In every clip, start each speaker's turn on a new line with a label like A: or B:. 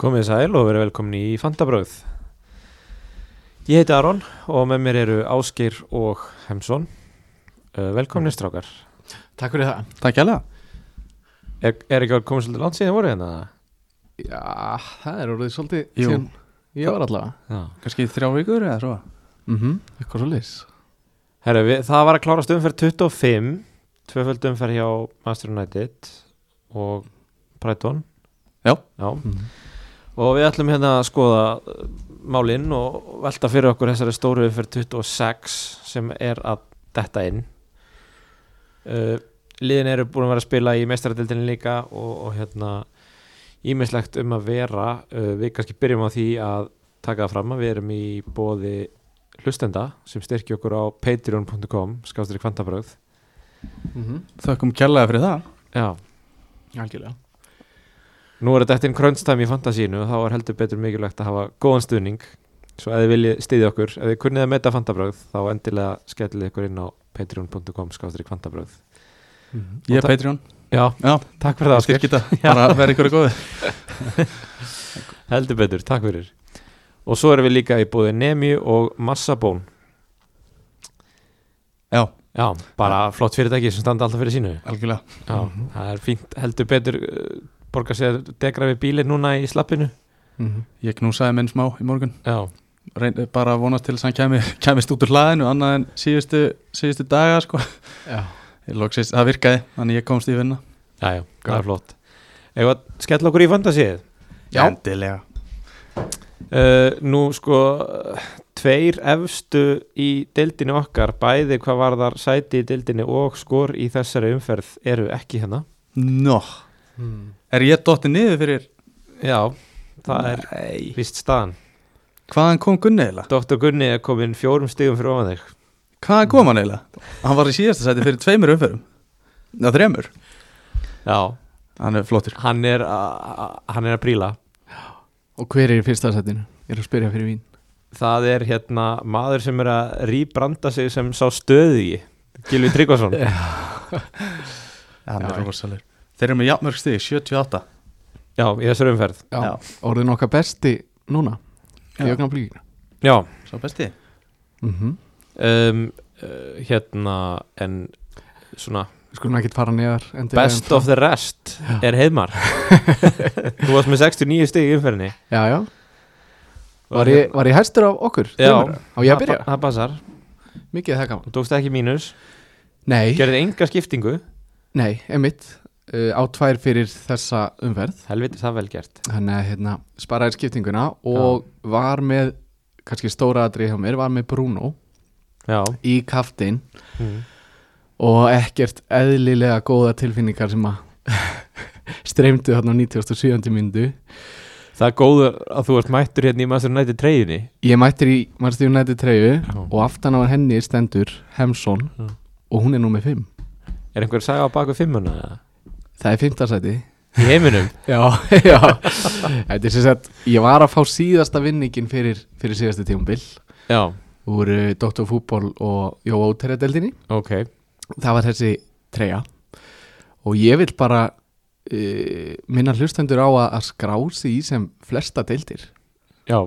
A: Komið sæl og verið velkomin í Fantabröð. Ég heiti Aron og með mér eru Ásgeir og Hemsson. Uh, Velkominir strákar.
B: Takk fyrir það
C: Takk hérlega
A: Er, er ekki að koma svolítið langt síðan voru hérna?
B: Já, það er orðið svolítið
C: Jú.
B: síðan Ég var allavega
A: Já.
C: Kannski þrjá vikur eða svo
B: mm -hmm. Eitthvað svo leys
A: Herru, við, það var að klárast umferð 25, tvöföld umferð hjá Master United og Brighton.
C: Já.
A: Já. Og við ætlum hérna að skoða uh, málin og velta fyrir okkur þessari stóru umferð 26 sem er að detta inn. Uh, liðin eru búin að vera að spila í meistaradildinni líka og, og hérna ímislegt um að vera. Uh, við kannski byrjum á því að taka það fram að við erum í bóði hlustenda sem styrkja okkur á patreon.com skástur í kvantabröð.
B: mm -hmm.
C: Þökkum kærlega fyrir það
A: Já.
B: Algjörlega
A: Nú er þetta eftir krönstæmi í fantasínu og þá er heldur betur mikilvægt að hafa góðan stuðning svo ef þið viljið styðja okkur ef þið kunnið að meta fantabröð þá endilega skellið ykkur inn á patreon.com skáttur í fantabröð
B: Mhm.
C: Ég
A: Og
C: er Patreon
A: Já,
C: Já,
A: takk fyrir það Ásgeir
C: styrkita Bara verið ykkur að góði
A: Heldur betur, takk fyrir Og svo erum við líka í búði Nemi og Massabón
C: Já,
A: Já, bara flott fyrirtæki sem standa alltaf fyrir sínu
C: algjörlega
A: Já, það er fínt heldur betur uh, borga sér degra við bílinn núna í slappinu
B: mm -hmm.
C: Ég knúsaði minn smá í morgun
A: Já,
C: Reyndi bara að vonast til þess að hann kæmi, kæmist út úr hlaðinu annað en síðustu, síðustu daga sko.
B: Já,
C: Ég loksist, það virkaði þannig ég komst í vinna
A: já, já, það er flott Eða skella okkur í fantasíð
B: Já.
C: Endilega
A: Uh, nú sko uh, tveir efstu í deildinni okkar, bæði hvað varðar sæti í deildinni og skor í þessari umferð eru ekki hérna
C: Nó,
B: mm.
C: er ég dottið niður fyrir
A: Já, það er
C: Nei
A: víst staðan
C: Hvaðan kom Gunni eiginlega?
A: Dr. Gunni er komin fjórum stigum fyrir ofan þig
C: Hvaðan kom hann eiginlega? Hann var í síðasta sæti fyrir tveimur umferðum Já, þremur
A: Já,
C: Hann er flottur
A: hann er, að- að- hann er að príla
B: Og hver er í fyrsta setinu? Ég er að spyrja fyrir vín
A: Það er hérna maður sem er að rýbranda sig sem sá stöði Gilvi Tryggvason
C: Hann
B: Já,
C: er
B: já.
C: rosalur Þeir eru með jafnmörg stig, 78
A: Já, í þessari umferð
B: Já,
C: Já.
B: orðin okkar besti núna Í
C: Já.
B: augnablíkinu
A: Já,
C: Sá besti
B: mm -hmm.
A: um, uh, hérna en svona
B: Við skulum ekki fara neðar endilega en
A: Best of the rest er Heimar Þú varst með 69 stig í umferðinni
B: Já, já Var ég, var ég hæstur af okkur?
A: Já.
B: Tveimur? Á ég að byrja?
A: Það passar,
B: Mikið er það gaman
A: þú tókst ekki mínus
B: Nei,
A: Gerðið enga skiptingu
B: nei, emitt uh, Á tvær fyrir þessa umferð
A: Helviti það vel gert
B: þannig að hérna, sparaði skiptinguna og var með kannski stóra atrið hjá mér, var með Bruno
A: Já
B: í kaftin
A: mm.
B: og ekkert eðlilega góða tilfinningar sem að streymdu þarna á 97. myndu
A: Það er góður að þú varst mættur hérna í Master United treyjunni
B: ég mættir í Manchester United treyju
A: Já.
B: og aftan á henni stendur Hemsson
A: Já.
B: og hún er nú með 5
A: Er einhver að saga á baku fimmuna eða?
B: það er 5. sæti
A: Í heiminum
B: já, já þetta er sem sagt, ég var að fá síðasta vinningin fyrir, fyrir síðasta tímumbil
A: Já,
B: úr uh, Dr. Fútbol og Jó Óterjadeldinni
A: ok
B: það var þessi treyja og ég vil bara uh, minna hlustendur á að, að skrá sig í sem flesta deildir
A: Já,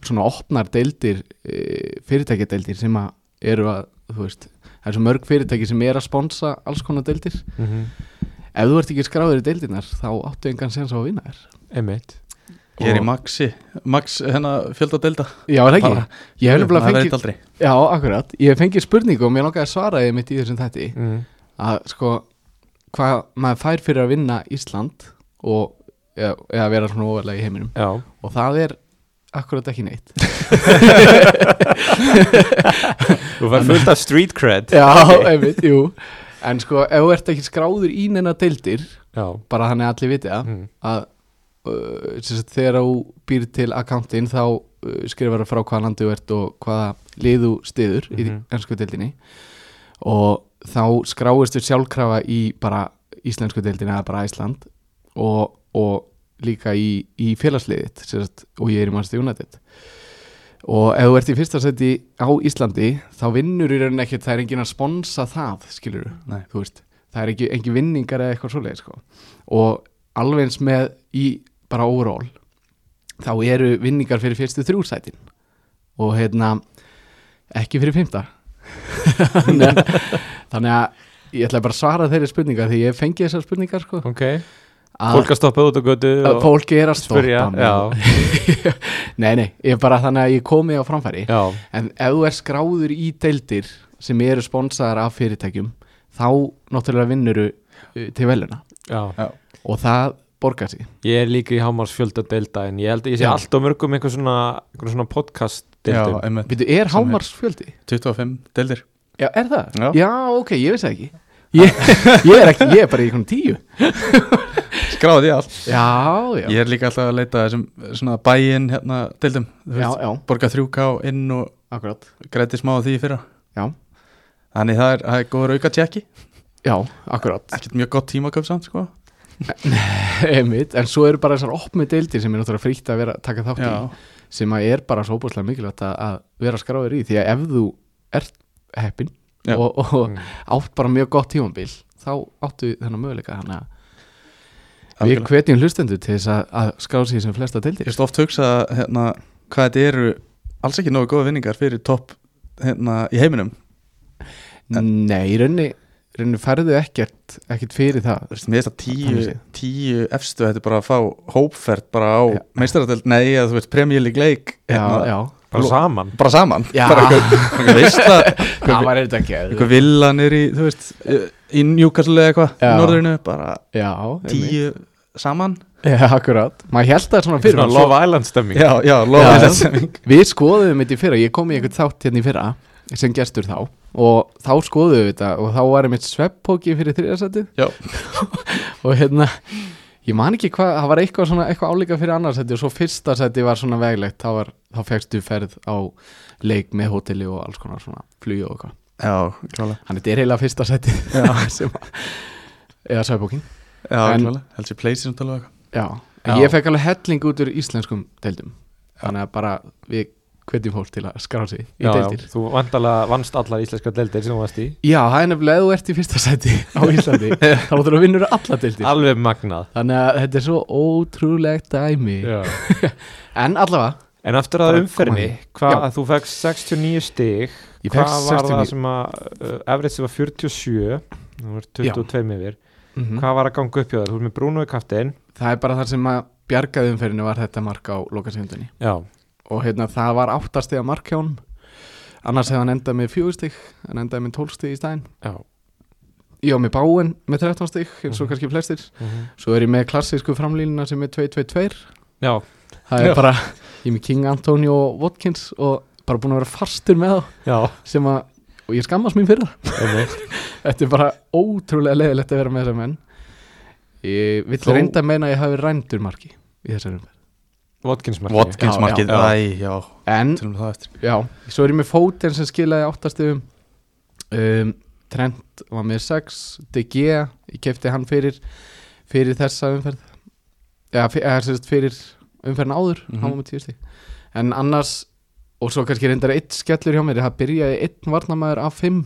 B: svona opnar deildir uh, fyrirtækjadeildir sem að eru að þú veist, það er svo mörg fyrirtæki sem er að sponsa alls konar deildir
A: mm
B: ef þú ert ekki skráður í deildirnar þá áttu engan sens á að vinna þér
A: einmitt
C: Ég er í
A: Og-
C: maxi, max hennar fjöldadelda
B: Já, er það ekki,
C: Bara-
B: ég hef nefnilega
C: Það verið
B: fengið
C: aldrei
B: Já, akkurat, ég hef fengið spurningu og mér langaði að svara þið mitt í þessum þætti
A: mm.
B: að sko hvað maður fær fyrir að vinna Ísland og eða, eða vera svona ofalega í heiminum
A: Já,
B: og það er akkurat ekki neitt
A: þú var fullt af street cred
B: Já, einmitt, jú en sko ef þú ert ekki skráður í neina deildir
A: Já,
B: bara þannig að allir viti það
A: mm.
B: að uh, sem sagt, þegar þú býr til akkántin þá uh, skrifar það frá hvaða landi þú ert og hvaða liðu stiður
A: Mhm.
B: í ennsku deildinni og þá skráist við sjálfkrafa í bara íslensku deildinni eða bara Ísland og, og líka í, í félagsliðið sem sagt, og ég er í mannstu United og ef þú ert í fyrsta seti á Íslandi þá vinnur í rauninni ekkert það er enginn að sponsa það skilur
C: Nei.
B: þú veist, það er ekki, engin vinningar eða eitthvað svoleið sko. og alveg eins með í bara overall þá eru vinningar fyrir fyrstu þrjúrsætin og hérna ekki fyrir fymta þannig að- þannig að ég ætla bara að svara þeirri spurningar því ég fengi þessar spurningar sko
A: ok,
B: að
A: fólk að stoppa út á götu
B: að
A: og
B: fólki er að stoppa
A: spyrja
B: mig.
A: já,
B: nei nei, ég bara þannig að ég komi á framfæri
A: já,
B: en ef þú er skráður í deildir sem eru sponsaðar af fyrirtækjum þá náttúrulega vinnuru til veluna
A: já
B: og það borgar sig
A: ég er líka í hámars fjölda deilda en ég held að ég sé
B: Já.
A: allt og mörgum einhver svona, einhver svona podcast
C: Já,
A: deildum
C: einmitt.
B: Býtu, er
C: Sem er-
B: hámarsfjöldi?
C: 25 deildir
B: Já, er það?
C: Já.
B: ok, ég vissi það ekki ég, ég er ekki, ég er bara í einhvern tíu
C: Skráði ég allt
B: Já, já
C: Ég er líka alltaf að leita að þessum svona bæinn hérna deildum Þú
B: Já,
C: veist,
B: já,
C: Borga 3K inn og
B: akkurat
C: græti smá á því í fyrra
B: Já.
C: Þannig það er, það er góður auka tjekki
B: Já, akkurat
C: Ekkert mjög gott tímaköp samt sko
B: Einmitt, En svo eru bara þessar opmi deildir sem er náttúrulega fríkt að vera, taka þátt
C: Já,
B: í sem að er bara svo búslega mikilvægt að, að vera skráður í því að ef þú ert heppin
C: Já.
B: og, og
A: Mm.
B: átt bara mjög gott tímambil þá áttu þennan möguleika þannig að við
C: algjörlega.
B: hvetjum hlustendur til þess að, að skráða sig í sem flesta
C: Ég
B: deildir
C: veist oft hugsa hérna, hvað þetta eru alls ekki nógu góða vinningar fyrir topp hérna, í heiminum
B: Nei, í rauninni, í rauninni færðu ekkert, ekkert fyrir það
C: Þú veist, Mér finnst að tíu,
B: Þannig séð.
C: tíu efstu þetta er bara að fá hópferð bara á
B: Já.
C: meistaradelt, nei, eða þú veist, premjölig leik Hérna-
B: Já, já
A: bara saman
C: bara saman
B: Já.
C: bara einhver- einhver veisla
B: Það var eitthvað ekki
C: eitthvað villa nýri, þú veist í Newcastle eða eitthvað, í
B: Já.
C: norðurinu bara
B: Já, einmitt.
C: tíu saman
B: Já, akkurat Maður held það svona fyrir
A: svona
B: fram,
A: Love Island stemming
C: Já, já,
B: Já.
C: lofa þessum
B: svo- Við skoðum þetta í fyrra Ég kom í einhvern þátt hérna í fyrra sem gestur þá og þá skoðum við þetta og þá var einmitt sveppóki fyrir þriðarsætið
C: Já.
B: og hérna ég man ekki hvað, það var eitthvað svona eitthvað álíka fyrir annarsæti og svo fyrsta sæti var svona veglegt þá, var, þá fegstu ferð á leik með hóteli og alls konar svona flug og eitthvað
C: Já, klálega
B: Þannig þetta er heila fyrsta sæti sem að eða sæbókin
C: Já,
B: En-
C: klálega, heldur ég pleysi sem talaðu eitthvað
B: Já,
A: Já.
B: en ég fekk alveg helling út úr íslenskum deildum Þannig að bara við hvetjum fólk til að skrá sig í
A: Já, já,
B: deildir Já.
A: þú vandalega vannst allar íslenska deildir sem þú varst í
B: það er nefnilega ef þú ert í fyrsta sæti á Íslandi þá þú vinnur alla deildir
A: alveg magnað
B: Þannig að þetta er svo ótrúlegt dæmi En allavega,
A: en aftur að
B: Bara
A: umferðinni
B: koma
A: hvað
B: Já.
A: að þú fekst 69 stig hvað
B: Ég fékk
A: var
B: 69.
A: það sem að uh, Everett var 47 þú var 22 yfir
B: mhm,
A: hvað var að ganga upp hjá þér, þú er með Bruno í kaftin
B: það er bara þar sem að bjargaðumferðinu var þetta mark á lokasegundinni
A: já,
B: Og hérna, það var áttastega mark hjá honum Annars hefði hann endað með fjögustig, hann endaði með tólstig í stæðin
A: já
B: Ég á með báin með 13 stig, eins og
A: Mhm.
B: kannski flestir
A: mm
B: Svo er ég með klassísku framlínuna sem er 2-2-2
A: já,
B: Það er
C: Já.
B: bara, ég er með King Antonio og Watkins og bara búin að vera fastur með þá
A: já,
B: sem að, og ég skammast mín fyrir það
A: einmitt.
B: Þetta er bara ótrúlega leiðilegt að vera með þessa menn Ég vill
A: Þó-
B: reynda að meina að ég hafi rændur marki í þessari umferð
A: Watkins marki
C: Watkins
B: Já,
C: markið,
A: já, já.
C: æ, já,
B: En,
C: tölum við það eftir
B: já, svo er ég með Foden sem skilaði áttastöfum um, Trent var með 6 DG, ég kefti hann fyrir fyrir þessa umferð eða, fyr- eða sem sagt fyrir umferðin áður,
C: Mhm.
B: hann var með 10 stík en annars, og svo kannski reyndar eitt skellur hjá mér, það byrjaði einn varnamæður af 5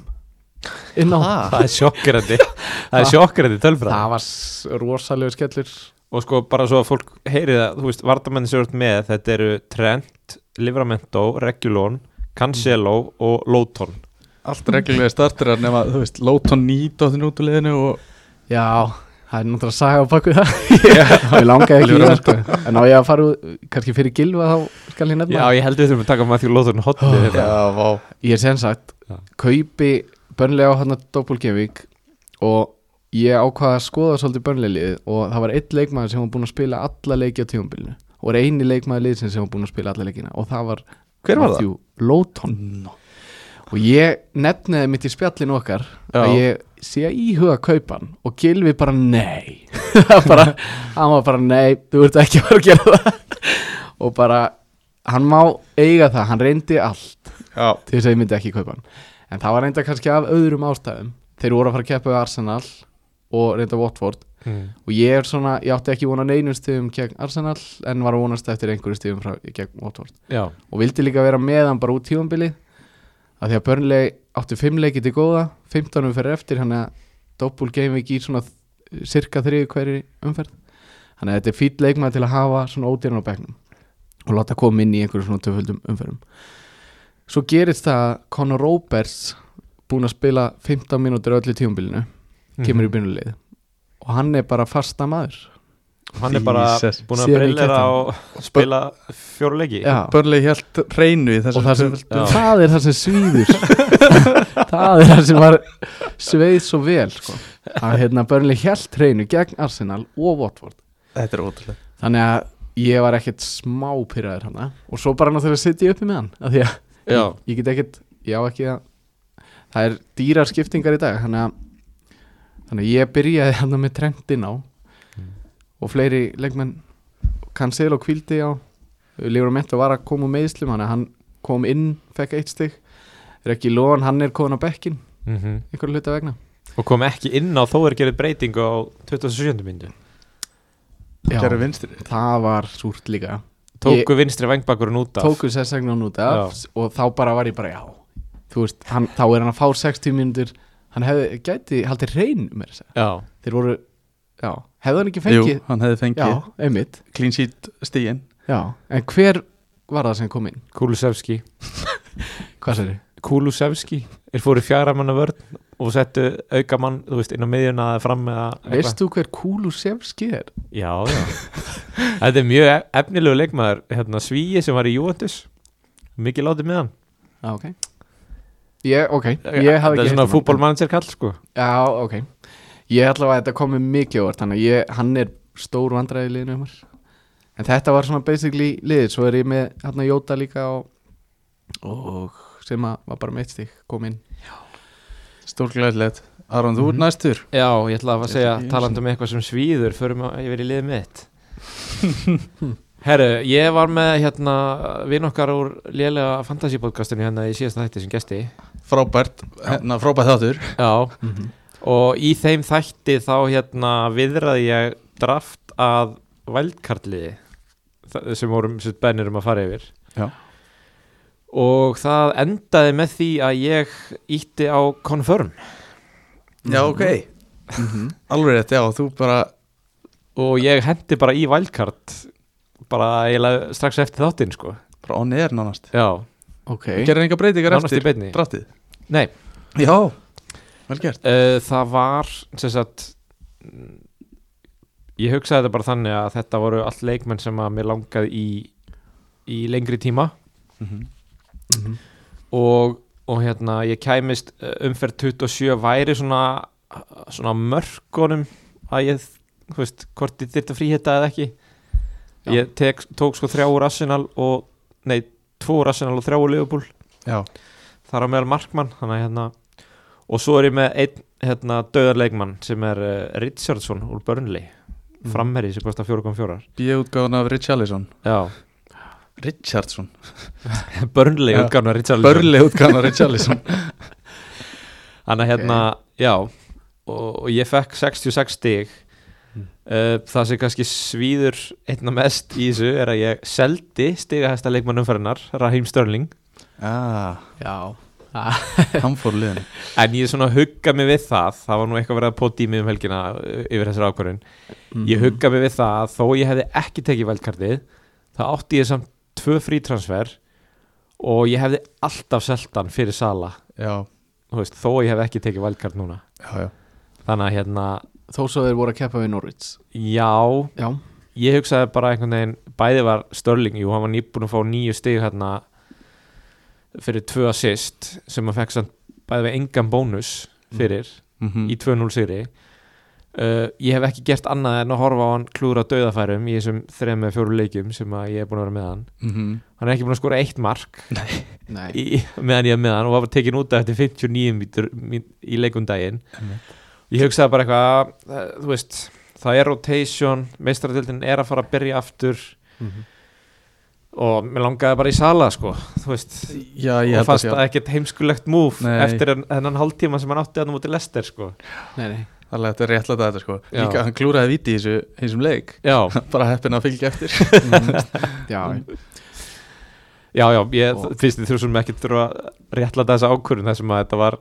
B: inn á
A: það er sjokkrandi það er sjokkrandi tölfræð
B: það var s- rosalegu skellur
A: og sko bara svo að fólk heyri það þú veist, vardamenni sem þú ert með þetta eru Trent, Livramento, Regulon Cancelo og Lóton
C: Allt reglulega startur er nema, þú veist, Lóton nýt á þinn út úr liðinu og
B: já, það er náttúrulega að saga á baku það ég langaði ekki í það sko. en á ég að fara út, kannski fyrir gilva þá skal ég nefna
A: já ég held við þurfum að taka Matthew Lóton
B: Ó,
C: Oh.
A: hotni þetta
C: Já, vá
B: Ég er sem sagt,
A: Já.
B: kaupi bönlega á hann að doppulgevík og ég ákvaða að skoða svolítið bönlegliðið og það var einn leikmaður sem var búin að spila alla leiki á tíumbilinu og er eini leikmaður liðsins sem var búin að spila alla leikina og það var
C: Hver var það?
B: Matthew Lóton
C: No.
B: og ég nefniði mitt í spjallinu okkar
C: Já.
B: að ég sé að íhuga kaupan og Gilvi bara nei Það bara, hann var bara nei þú ert ekki að fara að gera það og bara, hann má eiga það hann reyndi allt
C: Já,
B: til þess að ég myndi ekki kaupa hann en það var reynda kannski af öðrum ástæðum þeir voru að fara að keppa við Arsenal og reynda Watford
A: mm.
B: og ég er svona, ég átti ekki vona neinum stigum gegn Arsenal en var að vonast eftir einhverju stigum frá, gegn Watford
A: já,
B: og vildi líka vera með hann bara út tífambili að því að Burnley átti 5 leiki til góða 15 umferð eftir, hann að doppul game week í svona eh, cirka 3 hverju umferð þannig að þetta er fýtt leikmað til að hafa svona ódýrn á bekknum og láta koma inn í einhverjum svona töföldum umferðum svo gerist það að Conor Roberts búin að spila 15 mínútur á öllu tíumbilinu
A: Mhm.
B: kemur í byrjunlið og hann er bara fasta maður
A: Hann er bara
C: Jesus.
A: búin að
B: Síðan við
A: brillera
B: kettan.
A: og spila fjórleiki
B: Já.
C: Börli hjælt reynu í þessum
B: og það, sem,
A: Já.
B: það er það sem svíður það er það sem var sveið svo vel sko. að hérna börnlega hjælt reynu gegn Arsenal og Watford
C: Þetta er ótrúlega
B: þannig að ég var ekkert smá pyrraður hana og svo bara náttúrulega sitt ég uppi með hann af því að
A: Já.
B: ég get ekkert, ég á ekki að það er dýrar skiptingar í dag þannig að, þannig að ég byrjaði hann með trendin á og fleiri leikmenn Cancel og kvíldi á Leifur Mento var að koma úr meðslum þannig að hann kom inn, fekk eitt stig Rekki Lóan, hann er komin á bekkin
A: Mhm.
B: einhverju hluta vegna
A: Og kom ekki inn á þó er gerðið breytingu á 27. myndu
C: Gerðu
B: Já,
C: vinstri
B: það var súrt líka
A: Tóku vinstri vangbakurinn út af
B: tóku sérsagnan út af og þá bara var ég bara já þú veist, hann, þá er hann að fá 60 mínútur hann hefði, gæti, haldið reyn mér þess að segja.
A: Já,
B: þeir voru, já, hefði hann ekki
C: Jú,
B: fengið
C: hann hefði
B: já,
C: fengið
B: einmitt,
C: clean sheet stíin
B: já en hver var það sem kom inn,
A: Kulusevski
B: hvað sér þið?
A: Kulusevski er fóru fjara manna vörn og settu auka mann, þú veist, inn á miðjuna eða fram eða eitthvað.
B: Veistu hver Kulusevski er?
A: Já, já Þetta er mjög ef- efnilegu leikmaður hérna, Svíi sem var í Júventus Mikið látið með hann
B: Já, ok Ég, ok, ég
A: Það
B: hafði
A: er
B: ekki
A: svona
B: heyrt um hann.
A: fútbolmanager kall sko
B: Já, ok Ég ætla að þetta komi mikið óvart Þannig að ég, hann er stór vandræði liðinu hjá mér. En þetta var svona basically liðið Svo er ég með hann að Jóta líka og, og sem að var bara með eitt stík kom inn
C: Stórglæðilegt Aron, þú ert næstur
A: Já, ég ætla að
C: Þetta
A: segja,
C: er-
A: talandi um eitthvað sem svíður förum að yfir í liðið mitt Herru, ég var með hérna vinn okkar úr lélega fantasípodcastinu hérna í síðasta þætti sem gesti
C: Frábært, hérna frábært þáttur
A: Já, og í þeim þætti þá hérna viðraði ég draft að vældkartliði sem vorum sem sagt, bennir um að fara yfir
C: Já.
A: og það endaði með því að ég ítti á confirm
C: Já, ok
B: Mhm.
C: Alveg rétt, já, þú bara
A: og ég hendi bara í vældkart bara eiginlega strax eftir þáttinn sko
C: bara on air nánast
A: Já,
B: Ok
C: Gerðu enga breytingar
A: nánast í
C: eftir
A: beinni
C: drattið
A: Nei,
C: Já, vel gert
A: uh, það var sem sagt mm, ég hugsaði þetta bara þannig að þetta voru allt leikmenn sem að mér langaði í í lengri tíma
B: Mhm.
A: og, og hérna ég kæmist eh, umferð 27 væri svona, svona mörkunum að ég, þú veist, hvort ég þyrfti að fríhita eða ekki
B: Já.
A: ég tek, tók sko þrjá úr Arsenal og, nei, tvo úr Arsenal og þrjá úr Liverpool
C: Já,
A: þar á meðal markmann þannig að hérna og svo er ég með einn hérna döðan leikmann sem er uh, Richardson úr Burnley
B: Mm.
A: framherri sem kostar 4,4
C: bíðutgáðan af Richarlison
A: já,
C: Richardson
A: Burnley
C: Já.
A: útgáfna Richardson
C: Börli útgáðan af Richarlison
A: Þannig að hérna, já og, og ég fekk 66 stig
C: Mm.
A: uh, það sem kannski svíður einna mest í þessu er að ég seldi stigahæsta leikmann umferðinar Raheem Störling,
C: Já,
B: Já
C: hann fór liðinu
A: en ég svona hugga mig við það, það var nú eitthvað verið að pota í mig um helgina uh, yfir þessar ákvörðun
B: Mhm. Hmm.
A: ég hugga mig við það að þó ég hefði ekki tekið veldkartið, þá átti ég samt tvö frítransfer og ég hefði alltaf seldan fyrir Sala,
C: Já,
A: þú veist, þó ég hefði ekki tekið veldkart núna,
C: já, já
A: þannig að hérna
B: Þó svo þeir voru að keppa við Norwich
A: já,
B: Já,
A: ég hugsaði bara einhvern veginn bæði var Störling, jú, hann var nýbúin að fá nýju stig hérna fyrir tvö assist sem hann fekk samt bæði við engan bónus fyrir
C: Mhm. Mm.
A: í 2-0 sigri uh, ég hef ekki gert annað en að horfa á hann klúra döðafærum í þessum þrejum með fjóru leikjum sem að ég hef búin að vera með hann
C: Mhm.
A: hann er ekki búin að skora eitt mark
B: nei
A: í, meðan ég er með hann og var bara tekin út af eftir 59 mítur í leikundaginn
C: Einmitt.
A: ég hugsaði bara eitthvað eh, þú veist, það er rotation meistaradildin er að fara að byrja aftur
B: Mhm.
A: og mér langaði bara í sala sko, þú veist
C: Já,
A: og
C: ég held að
A: fannst
C: sé
A: það ekkert heimskulegt múf
C: Nei.
A: eftir en- þennan hálftíma sem hann átti að múti lester sko
B: Nei, nei
C: Það er réttlega þetta sko
A: Já.
C: Líka hann klúraði viti í þessu, þessum leik
A: já,
C: Bara heppin að fylgja eftir
B: Já,
A: já, já, ég
B: Og-
A: finnst þið þrjusum ekki þurfa að réttlæta þessa ákvörun þessum að þetta var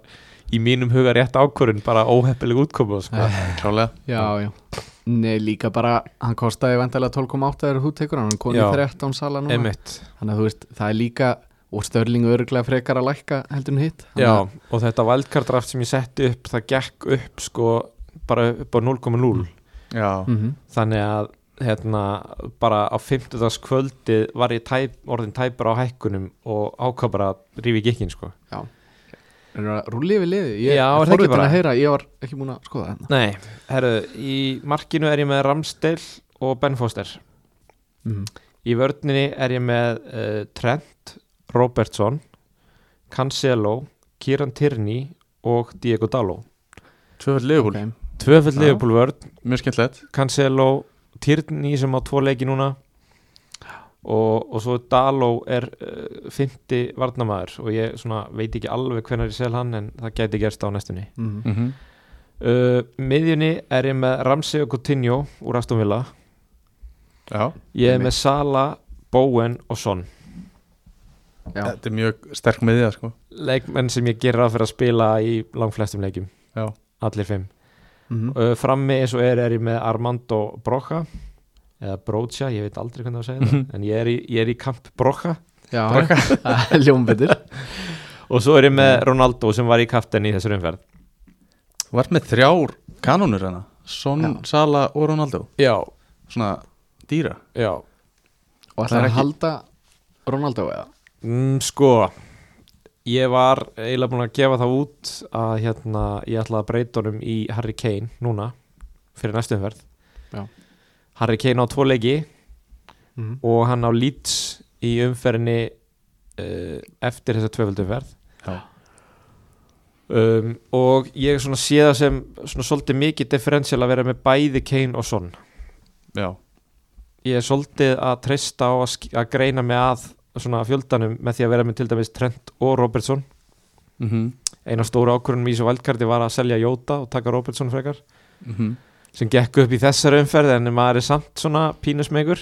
A: í mínum huga rétt ákvörun bara óheppileg útkoma sko.
C: Klálega
B: já, já Nei, líka bara, hann kostaði vantarlega 12,8 þegar þú tekur hann, hann koni
A: Já.
B: 13 sala núna
A: einmitt
B: Þannig að þú veist, það er líka og Störling örglega frekar að lækka heldur en hitt Þannig
A: Já,
B: að-
A: og þetta wildcard-draft sem ég setti upp það gekk upp sko bara upp á 0,0
C: Já,
B: Mhm.
A: þannig að hérna, bara á 50. kvöldi var ég tæp, orðin tæpur á hækkunum og ákvað bara að rífi gikkin sko
B: Það er að rúli yfir liði Ég
A: Já, er
B: er
A: það ekki
B: forvitinn
A: bara?
B: að heyra, ég var ekki búin að skoða þetta
A: Nei, herru, í markinu er ég með Ramsdale og Ben Foster
B: mm.
A: í vörninni er ég með uh, Trent, Robertson Cancelo, Kieran Tierney og Diego Dalo
C: tvöfald liðbúl
B: okay.
A: Tvöfell
B: Já.
A: Liverpool vörn
C: Mjög skemmtilegt
A: Cancelo, Tierney sem á tvo leiki núna og, og svo Daló er uh, fymti varnamaður og ég svona, veit ekki alveg hvenær ég sel hann en það gæti gerst á næstunni
B: mm.
C: mm -hmm.
A: uh, miðjunni er ég með Ramsey og Coutinho úr Aston Villa
C: Já,
A: ég er
B: Einmitt.
A: með Sala, Bowen og Son
B: Já.
C: þetta er mjög sterk miðja sko
A: leikmenn sem ég gerir að fyrir að spila í langflestum leikjum
C: Já.
A: allir fimm
B: Mm.
A: uh, frammi eins og er er ég með Armando Broca eða Brocha, ég veit aldrei hvernig það segja það en ég er í, ég er í kamp Broca
B: Já, það er ljómbetur
A: Og svo er ég með Ronaldo sem var í kaftin í þessar umferð
C: Þú vart með þrjár kanónur hana Son,
B: Já.
C: Sala og Ronaldo
A: Já,
C: Svona dýra
A: já
B: Og
C: Það er
B: ætlar að
C: ekki-
B: halda Ronaldo eða?
A: mm, Sko, ég var eiginlega búin að gefa það út að hérna, ég ætla að breyta honum í Harry Kane núna fyrir næstu umferð
B: Já.
A: Harry Kane á tvo leiki og hann á Leeds í umferðinni uh, eftir þessa tvöföldu umferð
C: Já.
A: um, og ég svona sé það sem svona svolítið mikið differential að vera með bæði Kane og Son
C: Já,
A: ég er svolítið að treysta á að, sk- að greina mig að svona fjöldanum með því að vera með til dæmis Trent og Robertson
C: mm -hmm.
A: eina stóra ákvörunum í þessu valdkarti var að selja Jóta og taka Robertson frekar sem gekk upp í þessari umferð en maður er samt svona pínusmegur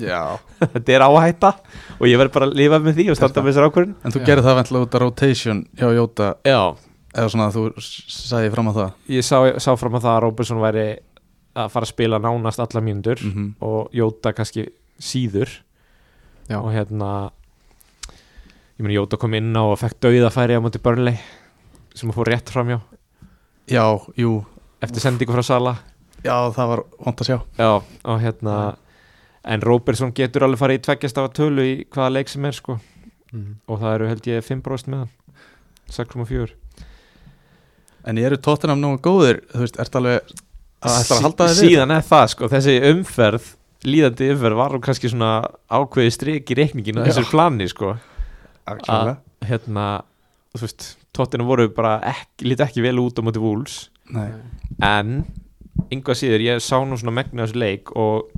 C: Já
A: þetta er áhætta og ég verð bara að lifa með því og standa með þessar ákvörun
C: En þú
B: Já.
C: gerir það vantlega út að rotation hjá Jóta
A: Já,
C: eða svona að þú sagði fram að það
A: ég sá, sá fram að það að Robertson væri að fara að spila nánast alla mínundur
C: mm -hmm.
A: og Jóta kannski síður
B: Já,
A: og hérna ég meni Jóta kom inn á og fekk dauðafæri á móti Burnley sem fór rétt framjá
C: Já, jú,
A: eftir sendingu frá Sala
C: já það var vant að sjá
A: já, og hérna en Robertson getur alveg farið í tveggjast af tölu í hvaða leik sem er sko
B: mm.
A: og það eru held ég 5% með hann 6,4
C: En eru tóttinam nógu góðir, þú veist, ertu alveg að ætla að halda
A: Sí-
C: þið
A: síðan er það sko, þessi umferð líðandi umferð var hún kannski svona ákveði strik í reikningin á
C: Já.
A: þessu plani sko
C: Að,
A: hérna, þú veist, tóttina voru bara ekki, lítið ekki vel út á móti vúls
C: Nei,
A: en yngvað síður, ég sá nú svona megnu þessu leik og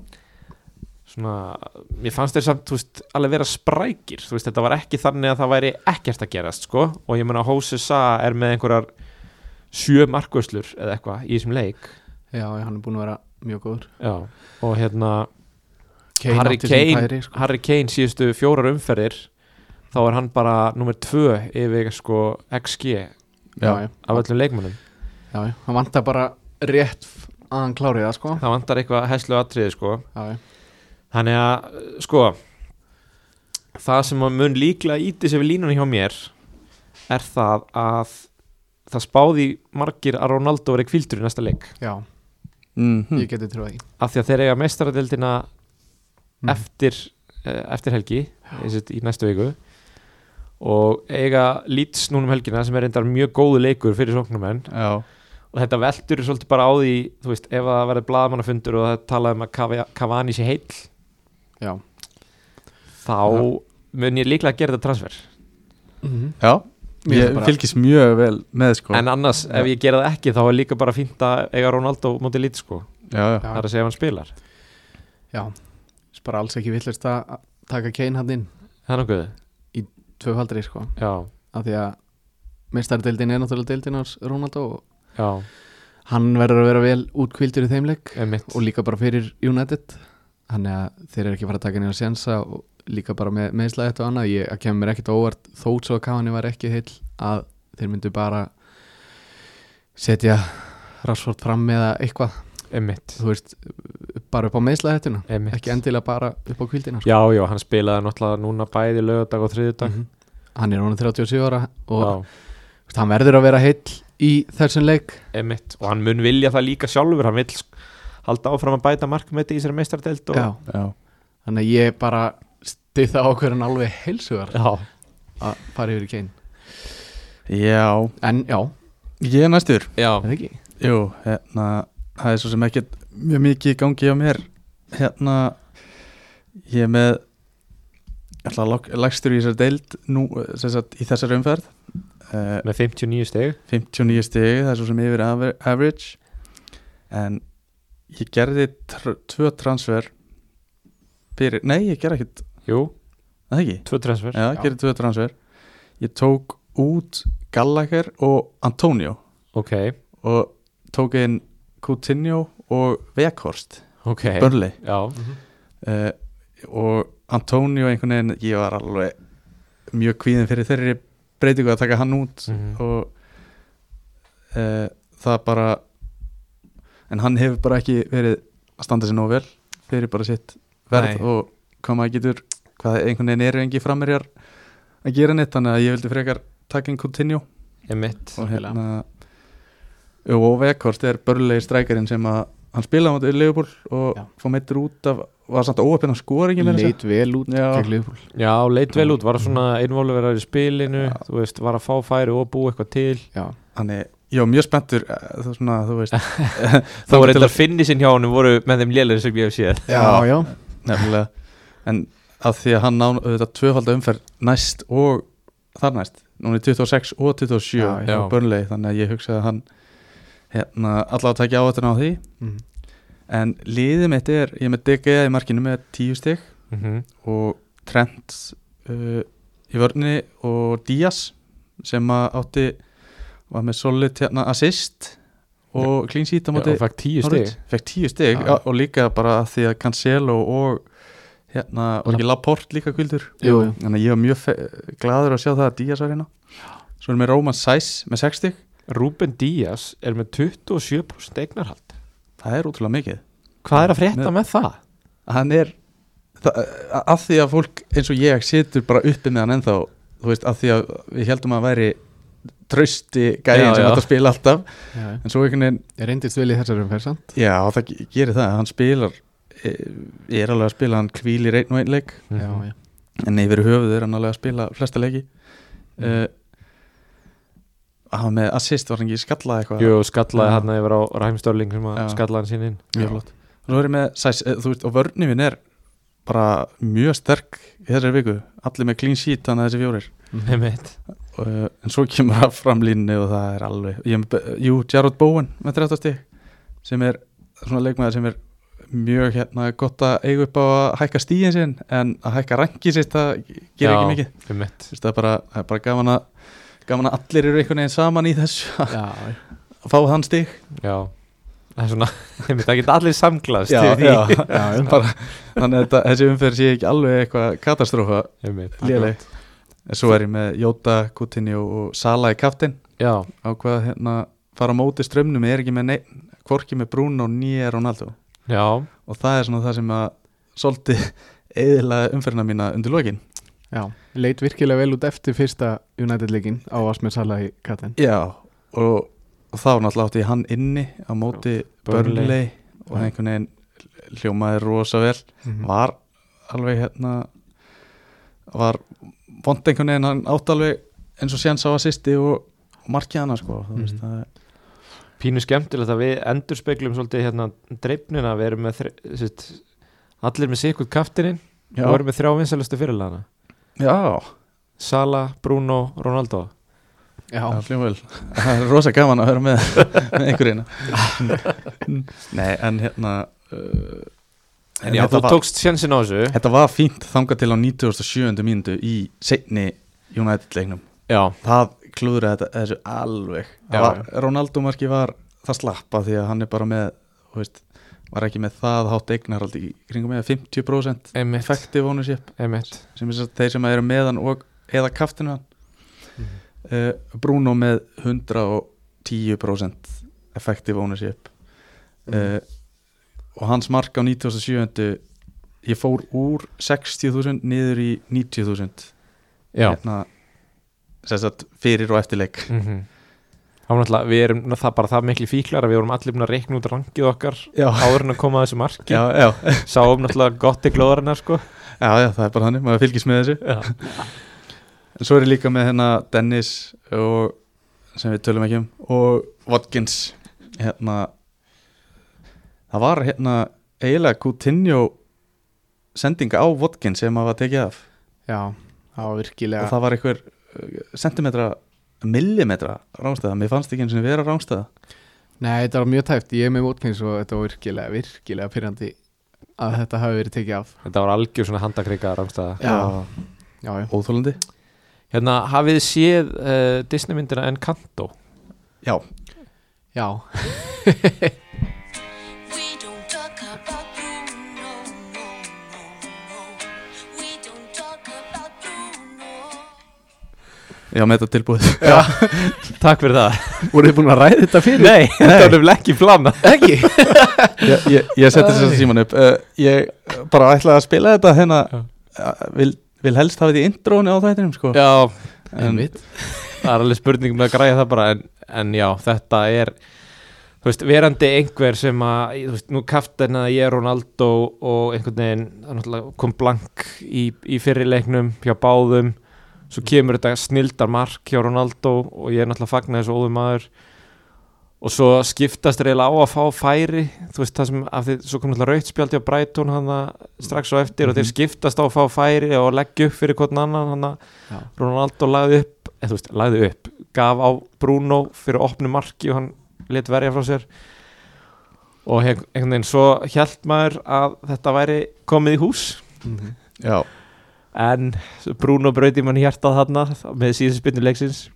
A: svona, mér fannst þeir samt þú veist, alveg vera sprækir, þú veist þetta var ekki þannig að það væri ekkert að gerast sko, og ég meina Hósi Sa er með einhverjar sjö markvöslur eða eitthvað í þessum leik
B: já, já, hann er búin að vera mjög góður
A: Já. og hérna Harry
B: átti sín
A: Kane-
B: færi, sko.
A: Harry Kane síðustu fjórar umferðir þá er hann bara nummer tvö yfir sko XG
B: já, já,
A: af öllum leikmönnum
B: já, já, hann vantar bara rétt f- að hann klárið það, sko
A: það vantar eitthvað hæslu atriði sko
B: Já, já,
A: Þannig að, sko Það sem að mun líklega íti sem við línunum hjá mér er það að það spáði margir að Ronaldo verið kvildur í næsta leik
B: já
C: mm
B: ég geti trúið því
A: af því að þeir eiga meistaradeildina
B: Mhm.
A: eftir, eh, eftir helgi eins og í næstu viku og eiga lýts núna um helgina sem er reyndar mjög góðu leikur fyrir sóknumenn
C: já,
A: og þetta veldur svolítið bara á því þú veist, ef það verður blaðamannafundur og það talaði um að Cava- Cavani sé heill
B: Já,
A: þá mun ég líklega að gera þetta transfer
B: mm
C: já
B: Mér
C: Ég
B: finnst bara-
C: fylgist mjög vel með sko
A: en annars ef ég gera það ekki þá er líka bara fínt að eiga Ronaldo móti lít sko,
C: Já, já,
A: það er að segja ef hann spilar
B: já Þess bara alls ekki villast að að taka Kane hann inn
A: það er nokkuð,
B: tvöfaldri, sko
A: já,
B: af því að meistardeildin er náttúrulega deildin hans Ronaldo og
A: já,
B: hann verður að vera vel útkvildur í þeim leik
A: emitt
B: og líka bara fyrir United þannig að þeir eru ekki að fara að taka nýja sénsa og líka bara með meðslega þetta og annað ég að kemur mér ekkert á óvart þó svo að Cavani var ekki heill að þeir myndu bara setja Rashford fram eða eitthvað
A: einmitt,
B: þú veist, bara upp á meðslaðettuna
A: einmitt.
B: ekki endilega bara upp á kvildina sko.
A: já, já, hann spilaði náttúrulega núna bæði lögadag og þriðudag
B: Mhm. hann er honum 37 ára og
A: og,
B: þú veist, hann verður að vera heill í þessum leik
A: einmitt, og hann mun vilja það líka sjálfur hann vil sk- halda áfram að bæta markmeti í sér meistardelt og,
B: Já.
C: já,
B: þannig að ég bara stið það okkur en alveg heilsugar
A: já,
B: að fara yfir í keinn
C: já.
B: en já,
C: ég er næstur
A: já.
B: er það ekki
C: Jú, hérna, það er svo sem ekkert mjög mikið í gangi á mér hérna, ég er með alltaf lagstur í þessari deild nú, sem sagt, í þessari umferð uh,
A: með 59 steg
C: 59 stegi, það er svo sem yfir aver- average en ég gerði tr tvö transfer fyrir, nei, ég gerði ekkert
A: jú,
C: það ekki,
A: tvö transfer
C: já, ég gerði tvö transfer ég tók út Gallagher og Antonio
A: ok,
C: og tók inn Coutinho og Vekhorst
A: ok,
C: Burnley
A: já
C: uh, og Antonio einhvern veginn, ég var alveg mjög kvíðin fyrir þeirri breytingu að taka hann út
A: Mhm.
C: og uh, það bara en hann hefur bara ekki verið að standa sér nóg vel fyrir bara sitt verð
A: Nei.
C: og hvað maður getur hvað einhvern veginn eru engi framherjar að gera neitt, þannig að ég vildi frekar taka einn Coutinho
A: einmitt,
C: og
B: Samfélag.
C: hérna Jú, og Vekhorst er börlegi strækarinn sem að hann spilaði á mótið Leopold og
B: Já.
C: fór meittur út af, var samt óöppin á skoringin
B: leit vel út
C: Já.
B: gegn Liverpool.
A: já, leit vel út var svona einvolverar í spilinu
C: Já.
A: þú veist, var að fá færi og búa eitthvað til
B: já,
C: þannig, ég var mjög spenntur eh, það er svona, þú veist
A: þá
C: Þangað
A: var
C: til
A: eitthvað finnisinn hjá hann voru með þeim lélæri sem ég hef séð
B: já,
C: Já.
B: já.
C: að- nefnilega, en að því að hann ná auðvitað tvöfalda umferð næst og þar næst, núna í 26 og 27
B: Já,
A: já.
C: á börnlegi, þannig að ég hugsaði að hann hérna, allavega tækja áhættuna á því
B: Mm.
C: en liðið mitt er, ég er með DGA í markinu með 10 stig
A: Mhm.
C: og Trent uh, í vörni og Díaz sem að átti var með solid hérna, assist og clean sheet á
A: Já,
C: móti
A: og fekk tíu steg
C: fekk tíu stig
B: Já.
C: ja. og líka bara að því að Cancelo og hérna, var ekki Laporte líka kvildur
B: Jú, jú.
C: þannig að ég var mjög fe- gladur að sjá það að Díaz var hérna svo erum við Róman Sæs með 6 stig
A: Ruben Díaz er með 27% eignarhald
C: það er útrúlega mikið
A: hvað er að frétta með það?
C: hann er það, að því að fólk eins og ég situr bara uppi með hann ennþá þú veist, að því að við heldum að hann væri trösti
A: Já,
C: gæðin sem
A: já.
C: þetta spila alltaf
B: Já, já.
C: en svo einhvern veginn,
B: ég reyndist vel í þessari umferð samt
C: já það ge- gerir það hann spilar, eh, ég er alveg að spila hann kvílir einn og einn leik
A: Mhm.
B: já, já.
C: en yfir höfuð er hann alveg að spila flesta leiki mm. uh, hann með assist var hann ekki skallað eitthvað
A: Jú, skallaði
C: Já.
A: hann yfir á Ræmstörling sem
C: Já.
A: að skallaði hann sín inn
C: mjög flott og svo erum við sæs, eh, þú veist, og vörnum minn er bara mjög sterk í þessari viku, allir með clean sheet þannig að þessi fjórir
B: Mhm.
A: Einmitt.
C: og, Eh, en svo kemur það fram línni og það er alveg ég, er með Be- jú, Jarrod Bowen með 30 stig sem er svona leikmaður sem er mjög hérna gott að eiga upp á að hækka stíðin sinn en að hækka rangi sitt það gerir
A: Já,
C: ekki mikið
A: einmitt.
C: Þú veist, það, er bara, það er bara gaman að gaman að allir eru einhvern veginn saman í þessu að
B: Já, já.
C: fá þann stig
A: Já Það er svona, einmitt, það geta allir samglast
C: Já,
A: yfir því.
C: já, já, bara, þannig að þetta, þessi umferð sé ekki alveg eitthvað katastrófa
A: Einmitt.
C: léleg en svo er ég með Jóta, Coutinho og Sala í kaftin
A: Já,
C: ákvað að hérna fara á móti strömmnum er ekki með neitt, hvorki með Bruno nýja Ronaldo
A: já,
C: og það er svona það sem að svolítið eðilaði umferðina mína undir lokin
B: Já, leit virkilega vel út eftir fyrsta United-leikin á Asmer Sala í Katin
C: já og, og þá náttúrulega átti ég hann inni á móti
A: Burnley.
C: Burnley og
B: Já.
C: einhvern veginn hljómaði rosa vel
B: Mhm.
C: var alveg hérna var vond einhvern veginn hann átt alveg eins og séns á assisti og, og markið hana sko þú veist
A: Mhm.
C: það er
A: pínu skemmtilegt að við endurspeglum svolítið hérna dreifnina, við erum með þre, sitt, allir með sikkut kaftininn og við erum með þrjá vinsælustu fyrirlana
C: já,
A: Sala, Bruno, Ronaldo
B: Já,
C: það fljóðum vel það er rosa gaman að höra með, með einhverjina nei en hérna uh,
A: En já,
C: þetta,
A: þú
C: var,
A: tókst sjensin á þessu
C: þetta var fínt þangað til á 97. mínútu í seinni United leiknum
A: Já,
C: það klúðraði þetta þessu alveg
A: Já,
C: já, var, Ronaldo marki var það slappa því að hann er bara með þú veist, var ekki með það hátt eignarhald í kringum með 50%
A: einmitt,
C: effective ownership
A: einmitt.
C: sem er sem sagt þeir sem eru með hann og eða kaftinu hann
A: Mhm.
C: uh, Bruno
B: Mhm.
C: með 110% effective ownership uh, og hans mark á 97. ég fór úr 60.000 niður í 90.000
A: já
C: hérna, sem sagt, fyrir og eftirleik
A: mm -hmm. náttúrulega, við erum ná, það bara það miklu fíklar að við vorum allir búin að reikna út rangið okkar
C: já,
A: áður en að koma að þessu marki
C: já, já,
A: sáum náttúrulega gott í glóðarinnar sko
C: já, já, það er bara þannig, maður fylgist með þessu
A: já,
C: en svo er ég líka með hennar Dennis og, sem við tölum ekki um og Watkins hérna það var hérna eiginlega Coutinho sendinga á Watkins sem maður var tekið af
B: Já, það var
C: og
B: virkilega
C: það var einhver uh, sentimetra, millimetra rángstæða, mér fannst ekki eins og vera rángstæða
B: Nei, þetta var mjög tæft, ég er með Watkins og þetta var virkilega, virkilega pyrrandi að þetta hafi verið tekið af
A: þetta var algjör svona handakrika rángstæða
B: Já. Já, já,
C: óþólandi
A: hérna, hafið þið séð uh, Disney myndina Encanto
C: já,
B: já.
D: We don't talk about Bruno, no, no, no. We don't talk about Bruno.
C: já, með þetta tilbúið
A: takk fyrir það
B: Voruð þið búin að ræða þetta
A: nei, þetta var nefnilega ekki plana
B: Ekki?
C: ég, ég, ég setti þess að síman upp uh, ég bara ætlaði að spila þetta hérna
A: Já.
C: uh, vil, vil helst hafa því intróni á þættinum sko
A: já,
C: En-
B: Einmitt.
A: það er alveg spurning með að græja það bara en, en já, þetta er þú veist, verandi einhver sem að þú veist, nú kaftin að ég er Ronaldo og einhvern veginn það náttúrulega kom blank í, í fyrirleiknum hjá báðum, svo kemur þetta snildar mark hjá Ronaldo og ég er náttúrulega fagnar þessu óðum maður og svo skiptast reyla á að fá færi þú veist það sem, af því svo kom náttúrulega rautspjaldi á Brighton hann strax á eftir og þeir
C: Mhm.
A: skiptast á að fá færi og leggja upp fyrir hvern annan hann
B: Já.
A: Ronaldo lagði upp eða þú veist, lagði upp, gaf á Bruno fyrir opnu marki og hann let verja frá sér og hef- einhvern veginn svo hjælt maður að þetta væri komið í hús
B: Mhm.
C: já,
A: en Bruno brauti mann hjartað þarna með síðan spynnu leiksins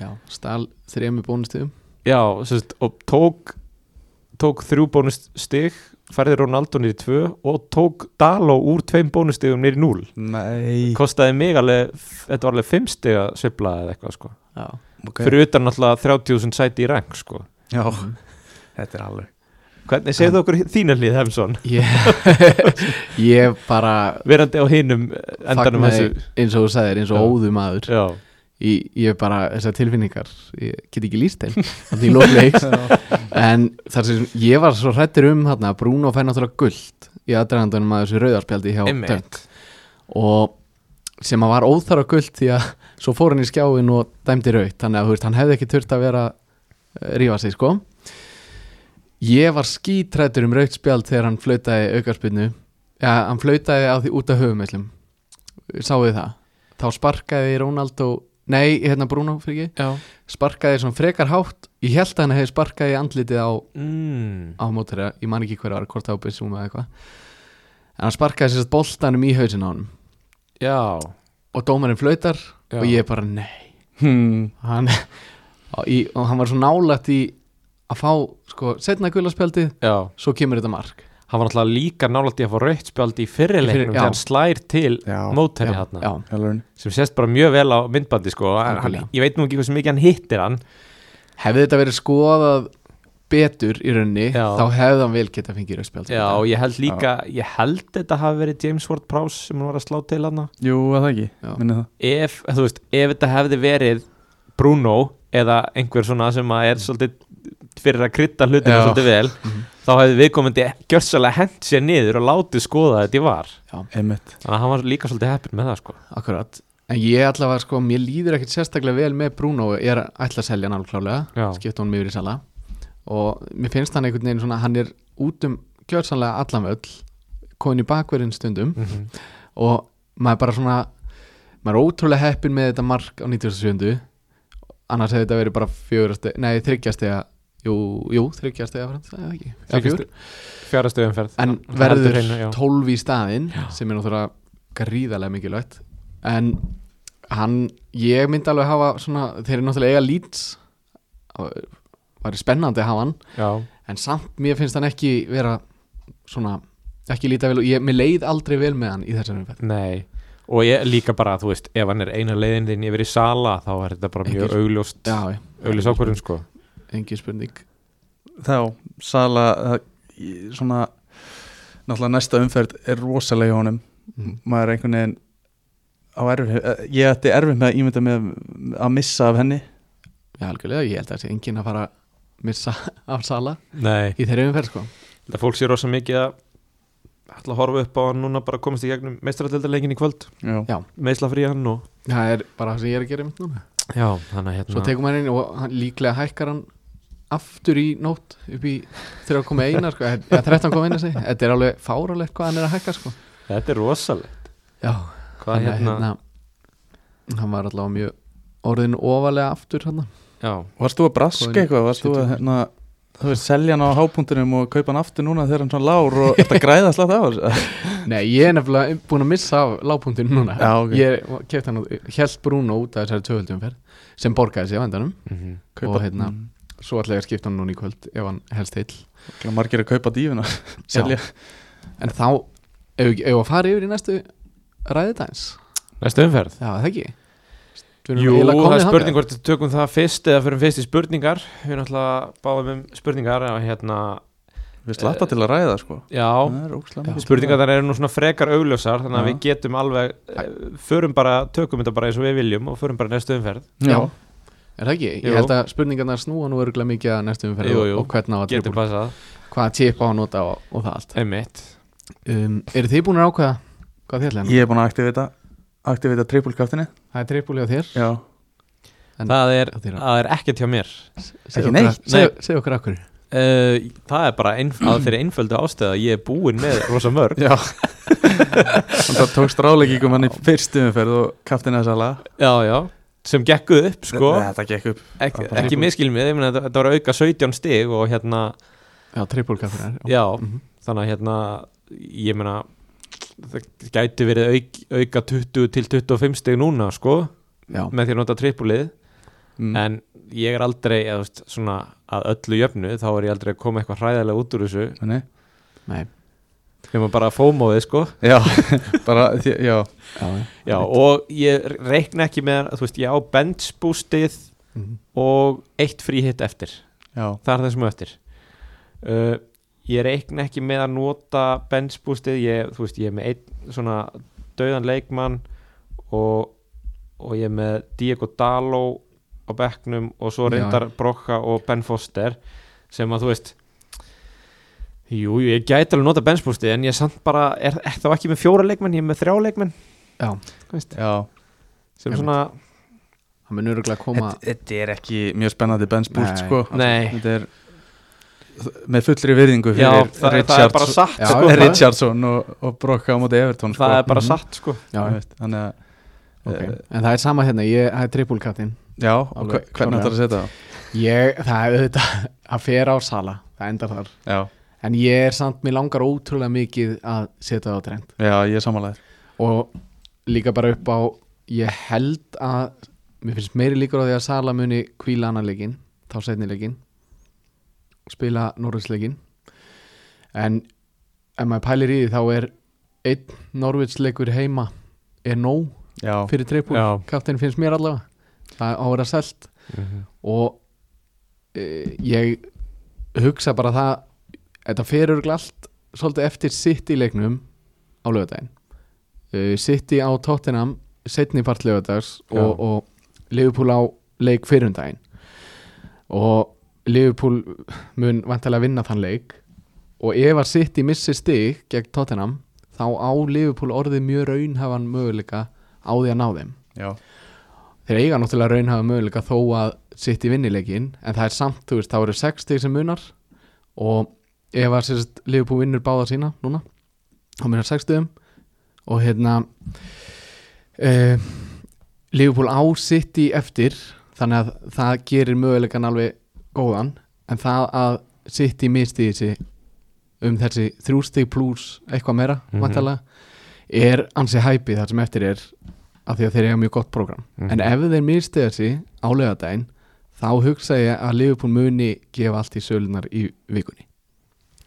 B: Já, stál þremi bónustöðum
A: já, sérst, og tók tók þrjú bónustig færði Ronaldo niður í tvö og tók Daló úr tveim bónustigum niður í núl
C: nei
A: kostaði mig alveg þetta var alveg fimmstiga svipla eða eitthvað sko
B: Já,
C: okay.
A: fyrir utan náttúrulega 30.000 sæti í rank sko
C: já, þetta er alveg
A: Hvernig segðu okkur þína hlið Hemsson
B: ég, ég bara
A: verandi á hinum endanum
B: fagnaði,
A: þessu
B: eins og þú sagðir, eins og
A: Já.
B: óðu maður
A: Já,
B: ég, ég bara, þessar tilfinningar ég get ekki líst þeim þannig í lókleiks en þar sem ég var svo hrættur um hérna, Bruno fær náttúrulega gullt í aðdragandunum að þessu rauðarspjaldi hjá Dunk
A: einmitt
B: og sem að var óþara gullt því að svo fór hann í skjáin og dæmdi raut þannig að þú veist, hann hefði ekki þurft að vera að rífa sig sko ég var skítrættur um rautspjald þegar hann flautaði aukarspinnu ja, hann flautaði á því út af höfumöllum sáu þið það þá sparkaði Rónald og nei, hérna Bruno fyrir ekki
A: Já
B: sparkaði svona frekar hátt ég held að hann hefði sparkaði í andlitið á
A: mm.
B: á mótara, ég man ekki hverja var hvort það var Bissúma eða eitthvað en hann sparkaði sérst boltanum í hausin á honum
A: Já,
B: og dómarinn flautar
A: já.
B: og ég bara nei
C: hmm.
B: hann, og, í, og hann var svo nálægt í að fá sko, setna gulaspjaldið,
A: Já,
B: svo kemur þetta mark
A: hann var náttúrulega líka nálægt í að fá raukt spjaldi í fyrirleiknum
B: Fyrir- já.
A: þegar hann slær til
C: já,
A: mótari
B: já,
A: hann
B: já,
C: alveg
A: sem sést bara mjög vel á myndbandi sko en hann,
B: Nákvæmlega.
A: ég veit nú ekki hversu mikið hann hittir hann
B: hefði þetta verið skoðað betur í raunni
A: Já.
B: þá hefði hann vel getað fengið rauðspjald
A: Já, og ég held líka, ég held þetta hafi verið James Ward-Prowse sem hann var að slá til hann
C: jú, að það ekki,
B: Já.
C: minni það
A: ef, þú veist, ef þetta hefði verið Bruno eða einhver svona sem að er svolítið fyrir að krytta hlutinu
C: Já.
A: svolítið vel þá hefði viðkomandi gjörsalega hent sér niður og látið skoða að þetta var
C: einmitt,
A: þannig að hann var líka svolítið heppin með það sko
B: akkurat en ég allavega sko, mér líður ekkert sérstaklega vel með Bruno, ég er ætla að selja hann alveg klálega
A: Já,
B: skipta honum yfir í sala og mér finnst hann einhvern veginn svona hann er út um gjörsanlega allan völl komin í bakverðin stundum
A: mm
B: og maður bara svona maður er ótrúlega heppin með þetta mark á 97. annars hefði þetta verið bara fjórastega, nei þryggjastega jú, jú þryggjastega eða ekki, eða fjögur
A: fjara stöðumferð
B: en verður 12 í staðinn sem er náttúrulega gríðarlega mikilvægt en hann, ég myndi alveg hafa svona, þeir eru náttúrulega eiga lýts væri spennandi að hafa hann
A: Já,
B: en samt mér finnst hann ekki vera svona, ekki líta vel og ég, mér leið aldrei vel með hann í þessari umfætt
A: nei og ég líka bara, þú veist, ef hann er eina leiðin þinn yfir í sala, þá er þetta bara mjög
B: Engir-
A: augljóst,
B: já,
A: augljós ákvörðum sko
B: engi spurning
C: þá, Sala það í- svona náttúrulega næsta umferð er rosalega í honum
B: Mm.
C: maður er einhvern veginn á erfið, ég ætti erfið með að ímynda með að missa af henni
B: Já, algjörlega, ég held að það sé enginn að fara að missa af sala
A: Nei,
B: í þeirri umferð sko
A: það fólk sé rosa mikið að ætla að horfa upp á hann núna bara komast í gegnum meistratildarleikin í kvöld
C: Já.
A: meðslafríðan og
B: Það er bara það sem ég er að gera mitt núna
A: já, þannig að hérna
B: Svo tekum maður inn og hann, líklega hækkar hann aftur í nótt upp í 3,1 sko, eða 13,1 segi. þetta er alveg fáralegt hvað hann er að hækka sko
A: þetta er rosalegt
B: Já,
A: hvað hérna,
B: hann var allavega mjög orðin ofalega aftur hann
A: já,
C: Varst þú að braska
B: Hvað er-
C: eitthvað? Varst þú að
B: 70?
C: hérna, þú veist, selja hann á hápunktunum og kaupa hann aftur núna þegar hann svona lár og þetta græða slátt á þessu?
B: Nei, ég er nefnilega búin að missa af lágpunktinu núna
C: Já, ok.
B: Ég kefti hann, held Bruno út af þessari tvööldumferð sem borgaði sig á endanum
A: mm
C: Kaupa, Mm,
B: Og hérna, svo ætla ég að skipta hann núna í kvöld ef hann helst heill
C: Örugglega Margir að kaupa dífuna, selja.
B: En þá, ef ef við að fara yfir í næstu ræði dagins
A: næstu umferð
B: Já, það ekki Við erum
A: Jú, það
B: eiginlega komnir
A: er
B: þangað.
A: spurning hvort við tökum það fyrst eða fyrir fyrst í spurningar við náttúrulega báðum um spurningar og hérna,
C: Við slappa til að ræða, sko.
A: já,
B: Mm.
C: Það er ógislega mikið.
A: spurningar þannig eru nú svona frekar augljósar þannig að
C: Já.
A: við getum alveg eh, förum bara, tökum þetta bara eins og við viljum og förum bara næstu umferð
C: Já.
B: Já. Er það ekki?
A: Jú.
B: Ég held að spurningarnar snúa nú örgulega mikið að næstu umferð
A: Jú,
B: og-
A: jú.
B: og hvernig á að
A: getum
B: tilbúin
A: passað,
B: Hvaða tipp á að nota og, og það allt
A: einmitt
B: um, Eru þið búin að ákveða hvað þið ætla hann?
C: Ég er búin að aktivita, aktivita trippulkaftinni.
B: Það er trippúli á þér
C: Já.
B: En-
A: það er,
B: Það er-
A: það er ekkert hjá mér
B: Segðu okkur-
C: neitt.
B: segðu- Segðu okkur akkur
A: uh, það er bara einf að fyrir einföldu ástæða ég er búinn með rosa mörg
C: Já. Þannig að tókst ráleggingum hann í fyrstu umferð og kaftin þess aðla.
A: já, já, sem gekkuð upp sko
C: Þetta gekk upp.
A: ekki,
C: bara-
A: ekki miskilum við, ég meina þetta- þetta var auka 17 stig og hérna,
B: Já, trippúli akkur
A: já
B: Mhm.
A: þannig að hérna, ég meina það gæti verið auk, auka 20 til 25 stig núna sko,
B: Já,
A: með því að nota trippulið
C: Mm.
A: en ég er aldrei eða, þú veist, svona, að öllu jöfnu þá er ég aldrei að koma eitthvað hræðilega út úr þessu
C: Nei.
B: nei
A: þegar maður bara fómóðið sko
C: Já, bara, því, já.
B: Já, já.
A: já, og ég reikna ekki með þú veist, ég á bench boostið
B: Mhm.
A: og eitt fríhitt eftir
C: Já.
A: það er það sem á eftir uh, ég reikna ekki með að nota bench boostið, ég, þú veist, ég er með einn svona dauðan leikmann og, og ég er með Diego Dalo á bekknum og svo
B: Já.
A: reyndar Brokka og Ben Foster sem að þú veist jú, jú, ég gæti alveg nota bench boostið en ég samt bara, er, er þá ekki með fjóra leikmenn ég er með þrjá leikmenn
B: Já,
A: þú veist,
C: Já.
A: sem
B: Einmitt.
A: svona,
B: það mun örgulega koma
C: Þetta þetta er ekki mjög spennandi bensbúst,
B: Nei.
C: sko.
A: nei
C: þetta er með fullri virðingu fyrir
A: já, það, það er bara
C: Richards,
A: satt
B: Já,
A: sko,
B: það er-
C: Richardson og, og Brokka á móti Everton sko.
A: það er bara
B: Mhm.
A: satt sko
B: Já, já.
C: Veist, þannig að
B: Ok,
C: Eh,
B: en það er sama hérna, ég, það er trippulkattin
C: já, og
B: Alveg
C: hve- hvernig
B: klárlega.
C: ætlar að setja það
B: Ég, það er auðvitað að fer á sala, það endar þar
C: já,
B: En ég er samt, mér langar ótrúlega mikið að setja það á trend
C: já, ég er samanlega
B: Og líka bara upp á, ég held að Mér finnst meiri líkur á því að sala muni kvíla annan leikinn Þá setni leikinn Spila norðursleikinn En ef maður pælir í því þá er Einn norðursleikur heima er nóg
C: já,
B: fyrir trippul
A: Já.
B: Kapteinn finnst mér allavega Það á að vera selt og e, ég hugsa bara það þetta fer örgulega allt svolítið eftir sitt í leiknum á lögadaginn e, sitt í á Tottenham setni part lögadags
A: Já.
B: og, og Liverpool á leik fyrrum daginn og Liverpool mun vantilega vinna þann leik og ef að sitt í missi stig gegn Tottenham þá á Liverpool orðið mjög raunhafan möguleika á því að ná þeim
C: já,
B: þeir eiga náttúrulega raunhafa möguleika þó að sitt í vinnileikin en það er samt, þú veist, þá eru 60 sem munar og ef að sérst Liverpool vinnur báða sína núna þá munar 60 og hérna uh, Liverpool á sitt í eftir þannig að það gerir möguleikan alveg góðan en það að sitt í misti þessi um þessi þrjústig pluss eitthvað meira, mm
A: Mhm.
B: er ansi hæpi þar sem eftir er af því að þeir eiga mjög gott program
A: Mhm.
B: en ef þeir mistega sig á lögadaginn þá hugsa ég að Liverpool muni gefa allt í sölunar í vikunni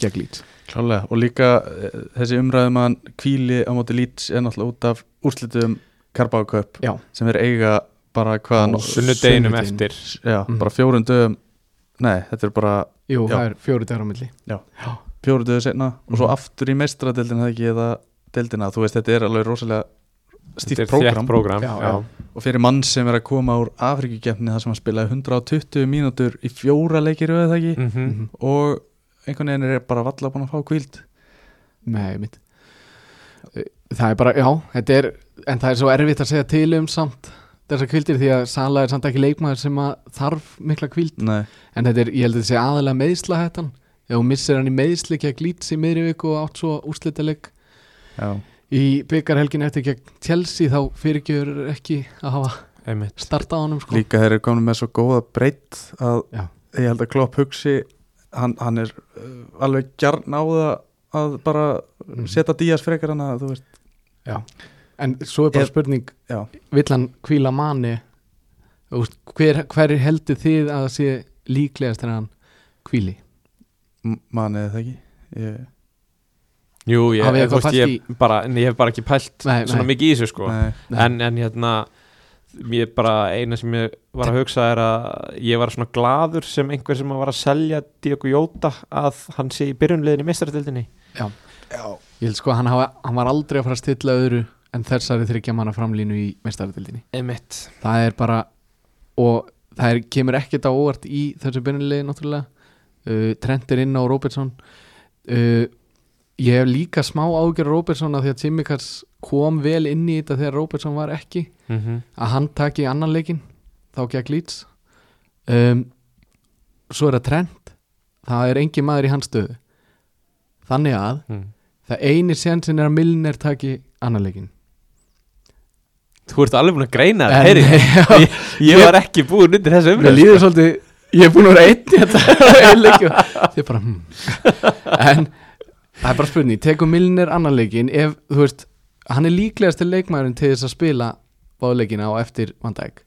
B: gegn lít
C: klálega og líka eh, þessi umræðum að hann kvíli á móti Leeds er náttúrulega út af úrslitum Carabao Cup
B: Já.
C: sem er eiga bara
B: Á
C: hvaðan
A: sunnudeginum
B: Sunnudeginum.
A: eftir
C: já,
B: Mhm.
C: bara fjórum dögum nei, þetta er bara
B: Jú,
C: Já.
B: það er fjóru dagar á milli
C: Já. fjóru döðu setna og svo
A: Mhm.
C: aftur í mestradeldina ekki eða deildina, þú veist, þetta er alveg rosalega stíft
A: Þetta er þétt
C: prógram
A: prógram
B: Já,
A: já.
B: já.
C: og fyrir mann sem er að koma úr Afrikugefni þar sem hann spilaði 120 mínútur í fjóra leikir auðvitað ekki
A: Mhm.
B: Mhm.
C: og einhvern veginn er bara valla búin að fá kvíld
B: Nei, mitt Það er bara, já, þetta er en það er svo erfitt að segja til um samt þessar kvildir því að Sala er samt ekki leikmaður sem að þarf mikla kvild
C: Nei,
B: en þetta er, ég held að þetta sé aðalega meðsla hættan ef hún missir hann í meðsli gegn lýts í miðri viku og átt svo úrslitaleg
C: já,
B: í byggarhelgin eftir gegn Chelsea þá fyrirgjör ekki að hafa
A: Einmitt.
B: startað á honum sko
C: líka þeir eru komin með svo góða breytt að
B: Já.
C: ég held að Klopp hugsi hann, hann er uh, alveg gjarn á það að bara
B: Mhm.
C: setja Díaz frekar hann að þú veist
B: En svo er bara
C: Ef-
B: spurning
C: já.
B: vill hann kvíla manni Þú veist, hver, hver heldur þið að sé líklegast þegar hann kvíli?
C: M- manið það ekki ég,
A: Jú, ég,
B: Hafið
A: ég,
B: þið eitthvað
A: veist, ég, bara, en ég hef bara ekki pælt
B: Nei,
A: svona
B: nei.
A: mikið í þessu sko
C: nei,
A: en, en hérna ég bara eina sem ég var að hugsa er að ég var svona gladur sem einhver sem var að selja Diogo Jóta að hann sé í byrjunliðinni meistardildinni
B: Ég held sko að hann, hafa, hann var aldrei að fara að stilla öðru en þessari þryggja manna framlínu í meistaröldinni.
A: Emitt
B: Það er bara og það er, kemur ekkert á óvart í þessu byrjunlegi náttúrulega uh, Trent er inn á Robertson uh, ég hef líka smá ágjör Robertson að því að Tsimikas kom vel inn í þetta þegar Robertson var ekki
A: mm -hmm.
B: að hann taki annan leikin þá gegn Leeds um, svo er það Trent það er engin maður í hans stöðu þannig að Það eini sénsinn er að Milner taki annarleikin
A: Þú ert alveg búin að greina
B: En-
A: það, heyri ég, ég var ekki búin undir sko. þessu
B: Mér
A: umræð
B: líður svolítið, ég er búin að vera einn í þetta einleik og Þið er bara hmm. En það er bara spurning, tekur Milner annarleikin ef, þú veist, hann er líklegast til leikmæðurinn til þess að spila báðleikina og eftir Van Dijk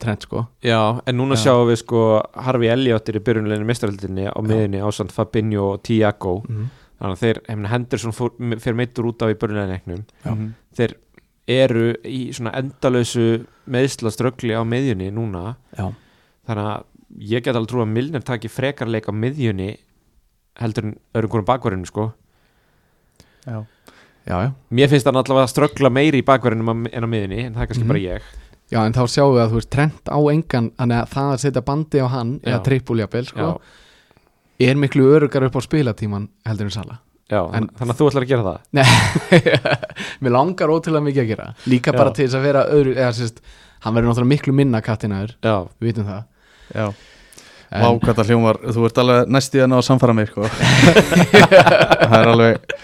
B: Trent sko
A: Já, en núna
C: Já.
A: sjáum við sko Harfi Eliottir í byrjunleginni meistardildinni á miðinni ásand Fabinho og Tiago þannig að þeir, hefna, Henderson fór, fyrir meittur út af í byrjunleginni
C: já. Mhm.
A: þeir eru í svona endalösu meðslaströggli á miðjunni núna
B: Já,
A: þannig að ég get alveg trú að Milner taki frekar leik á miðjunni heldur en öðrum hverjum bakverðinu sko
C: já.
B: já, já
A: mér finnst hann allavega að ströggla meiri í bakverðinum en á miðjunni en það er kannski
B: Mhm.
A: bara ég
B: Já, en þá sjáum við að þú veist Trent á engan þannig að það að setja bandi á hann eða
A: Já.
B: trippúljapel sko
A: já,
B: er miklu örugar upp á spilatíman heldur en Sala
A: já,
B: En-
A: þannig að þú ætlar að gera það
B: Nei, mér langar ótrúlega mikið að gera Líka
A: Já.
B: bara til þess að vera öðru eða, sérst, Hann verður náttúrulega miklu minna kattinaður
A: já,
B: Við vitum það
C: já.
B: En-
C: Vá, hvað það hljómar, þú ert alveg næst í að ná að samfara mig sko. það er alveg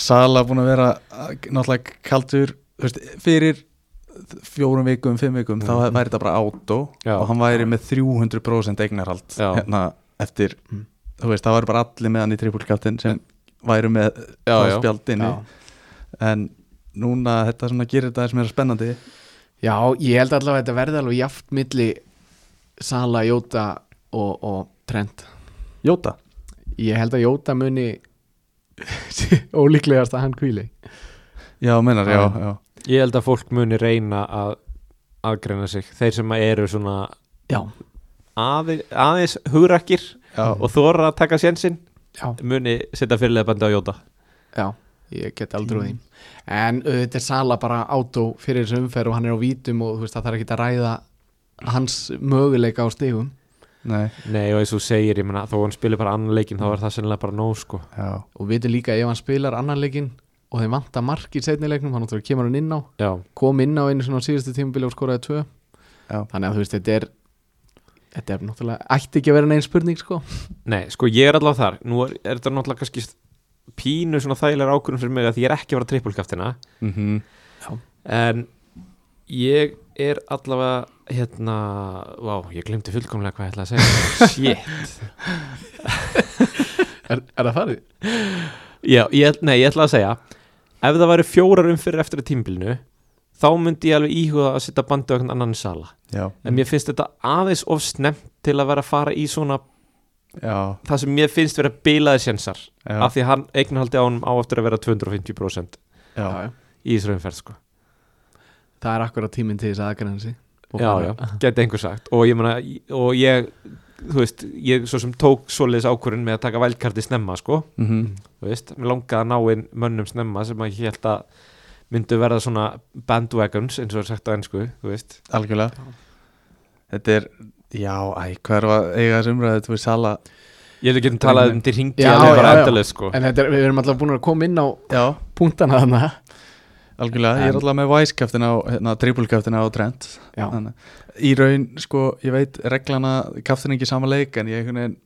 C: Sala búin að vera uh, náttúrulega kaldur þú veist, fyrir fjórum vikum, fimm vikum þá
A: Mhm.
C: væri þetta bara átó
A: Já.
C: og hann væri með 300% eignarhald
A: Já.
C: hérna eftir
B: Mhm.
C: þú veist, það væri bara allir með hann í trippulkattin sem væri með
A: Já,
C: það
A: já.
C: spjald inni en núna þetta svona gerir þetta sem er spennandi
B: Já, ég held allavega að þetta verði alveg jaft milli Sala, Jóta og, og Trent
C: Jóta
B: Ég held að Jóta muni ólíklegast að hann kvíli
C: Já, meinar, já, já,
A: ég held að fólk muni reyna að aðgreina sig, þeir sem eru svona
B: Já,
A: aðeins, aðeins hugrakkir
C: já.
A: og þóra að taka sénsinn
B: já,
A: muni setja fyrirlega bandi á Jóta
B: já Ég get aldrei úr því En auðvitað er Sala bara átó fyrir þessu umferð og hann er á vítum og þú veist, það þarf ekki að ræða hans möguleika á stigum
C: Nei,
A: Nei og eins og þú segir, ég menna þó hann spilir bara annan leikin þá er það sennilega bara nóg sko
C: já,
B: og við veitum líka ef hann spilar annan leikin og þeim vanta mark í setni leiknum hann náttúrulega kemur hann inn á,
A: Já,
B: kom inn á einu svona á síðustu tímubili og skoraði tvö
C: Já.
B: þannig að þú veist þetta er þetta er náttúrulega, ætti ekki að vera neins spurning sko
A: nei sko ég er allavega þar Nú er, er þetta náttúrulega kannski st- pínu svona þægilega ákvörðum fyrir mig að því ég er ekki að vera trippulkaftina
C: mm
A: En ég er allavega hérna, vá, ég glemdi fullkomlega hvað ég ætla að segja Shit
B: er, er það farið?
A: Já, ég, nei ég ætla að segja Ef það væri fjórar umfyrir eftir að tímbilinu þá myndi ég alveg íhuga að setja bandi á einhvern annan sala
C: já,
A: En mér finnst þetta aðeins of snemmt til að vera að fara í svona
C: já,
A: það sem mér finnst vera bilaði sénsar
C: já,
A: af því hann eignarhaldi á honum á eftir að vera 250%
C: já.
B: Já, já.
A: í þessu umferð sko.
B: það er akkurat tíminn til þess aðgræna sig
A: já, já, geti einhver sagt og ég, mena, og ég þú veist, ég svo sem tók svoleiðis ákvörðin með að taka vældkarti snemma sko,
C: mm
A: þú veist, mér langaði að ná inn mönnum snemma sem að ég held að myndu verða svona bandwagons eins og er sagt á ennsku, þú veist
C: Algjörlega Þetta er, já, æ, hvað er að eiga þessu umræðu Þetta er sala
A: ég held að getum talað um til ringi
B: Já,
A: alveg bara
B: já, já.
A: endalaust, sko.
B: En þetta er, við erum alltaf búin að koma inn á
C: Já,
B: punktana þarna
C: algjörlega, ég er
B: En-
C: alltaf með væskaftina og hérna, trippulkaftina og trend
B: Já,
C: Þannig, Í raun, sko, ég veit reglana Kaftin ekki í sama leik en ég einhvern veginn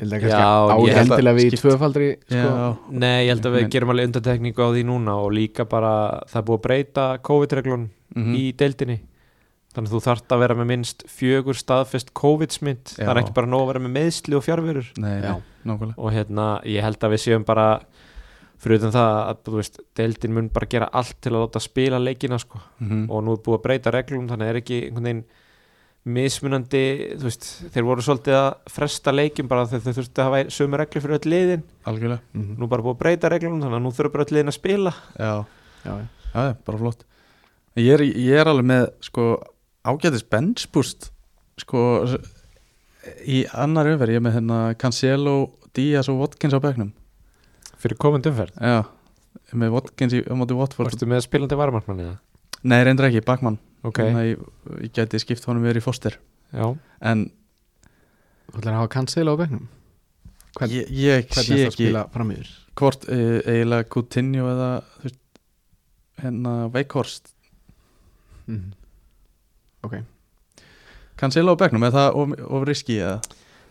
B: ég held að
A: Já,
B: kannski á
A: ég
C: held að
B: endilega við í
C: skipt-
B: tvöfaldri sko.
C: Já,
A: Nei, ég held að við
C: Men-
A: gerum alveg undantekningu á því núna og líka bara það er búið að breyta COVID-reglun
C: mhm.
A: í deildinni þannig að þú þart að vera með minnst fjögur staðfest COVID-smitt það er
C: Já.
A: ekki bara nóg að vera með meðsli og fjárverur
C: Nei,
B: Já.
C: nei, nákvæmlega
A: og hérna, ég held að við séum bara fyrir utan það að þú veist, deildin mun bara gera allt til að láta spila leikina sko.
C: Mhm.
A: og nú er búið að breyta reglum þannig er ekki einhvern veginn mismunandi, þú veist, þeir voru svolítið að fresta leikin bara þegar þau þurftu að hafa sömu reglu fyrir öll liðin
C: Algjörlega,
B: Mhm.
A: nú er bara búið að breyta reglunum þannig að nú þurfa bara öll liðin að spila
C: já
B: Já, já.
C: Já, já, bara flott ég er, ég er alveg með sko, ágætis bench boost sko, í annar umferð ég er með hérna Cancelo, Díaz og Watkins á bekknum
A: fyrir komandi umferð
C: Já, ég er með Watkins í, á móti Watford
A: Varstu með spilandi varmarmann eða?
C: Nei, reyndar ekki, bakmann
A: Ok,
C: Þannig að ég, ég gæti skipt honum verið í foster
A: já
C: En
B: Þú ætlar að hafa cancel á begnum Hvern-
C: ég, ég
B: Hvernig
C: sé
B: er það að
C: ekki
B: spila fram yfir?
C: hvort uh, eiginlega Coutinho eða þú veist, hérna Veghorst
B: Mhm.
C: Cancelo á bekknum, er það of, of riski eða?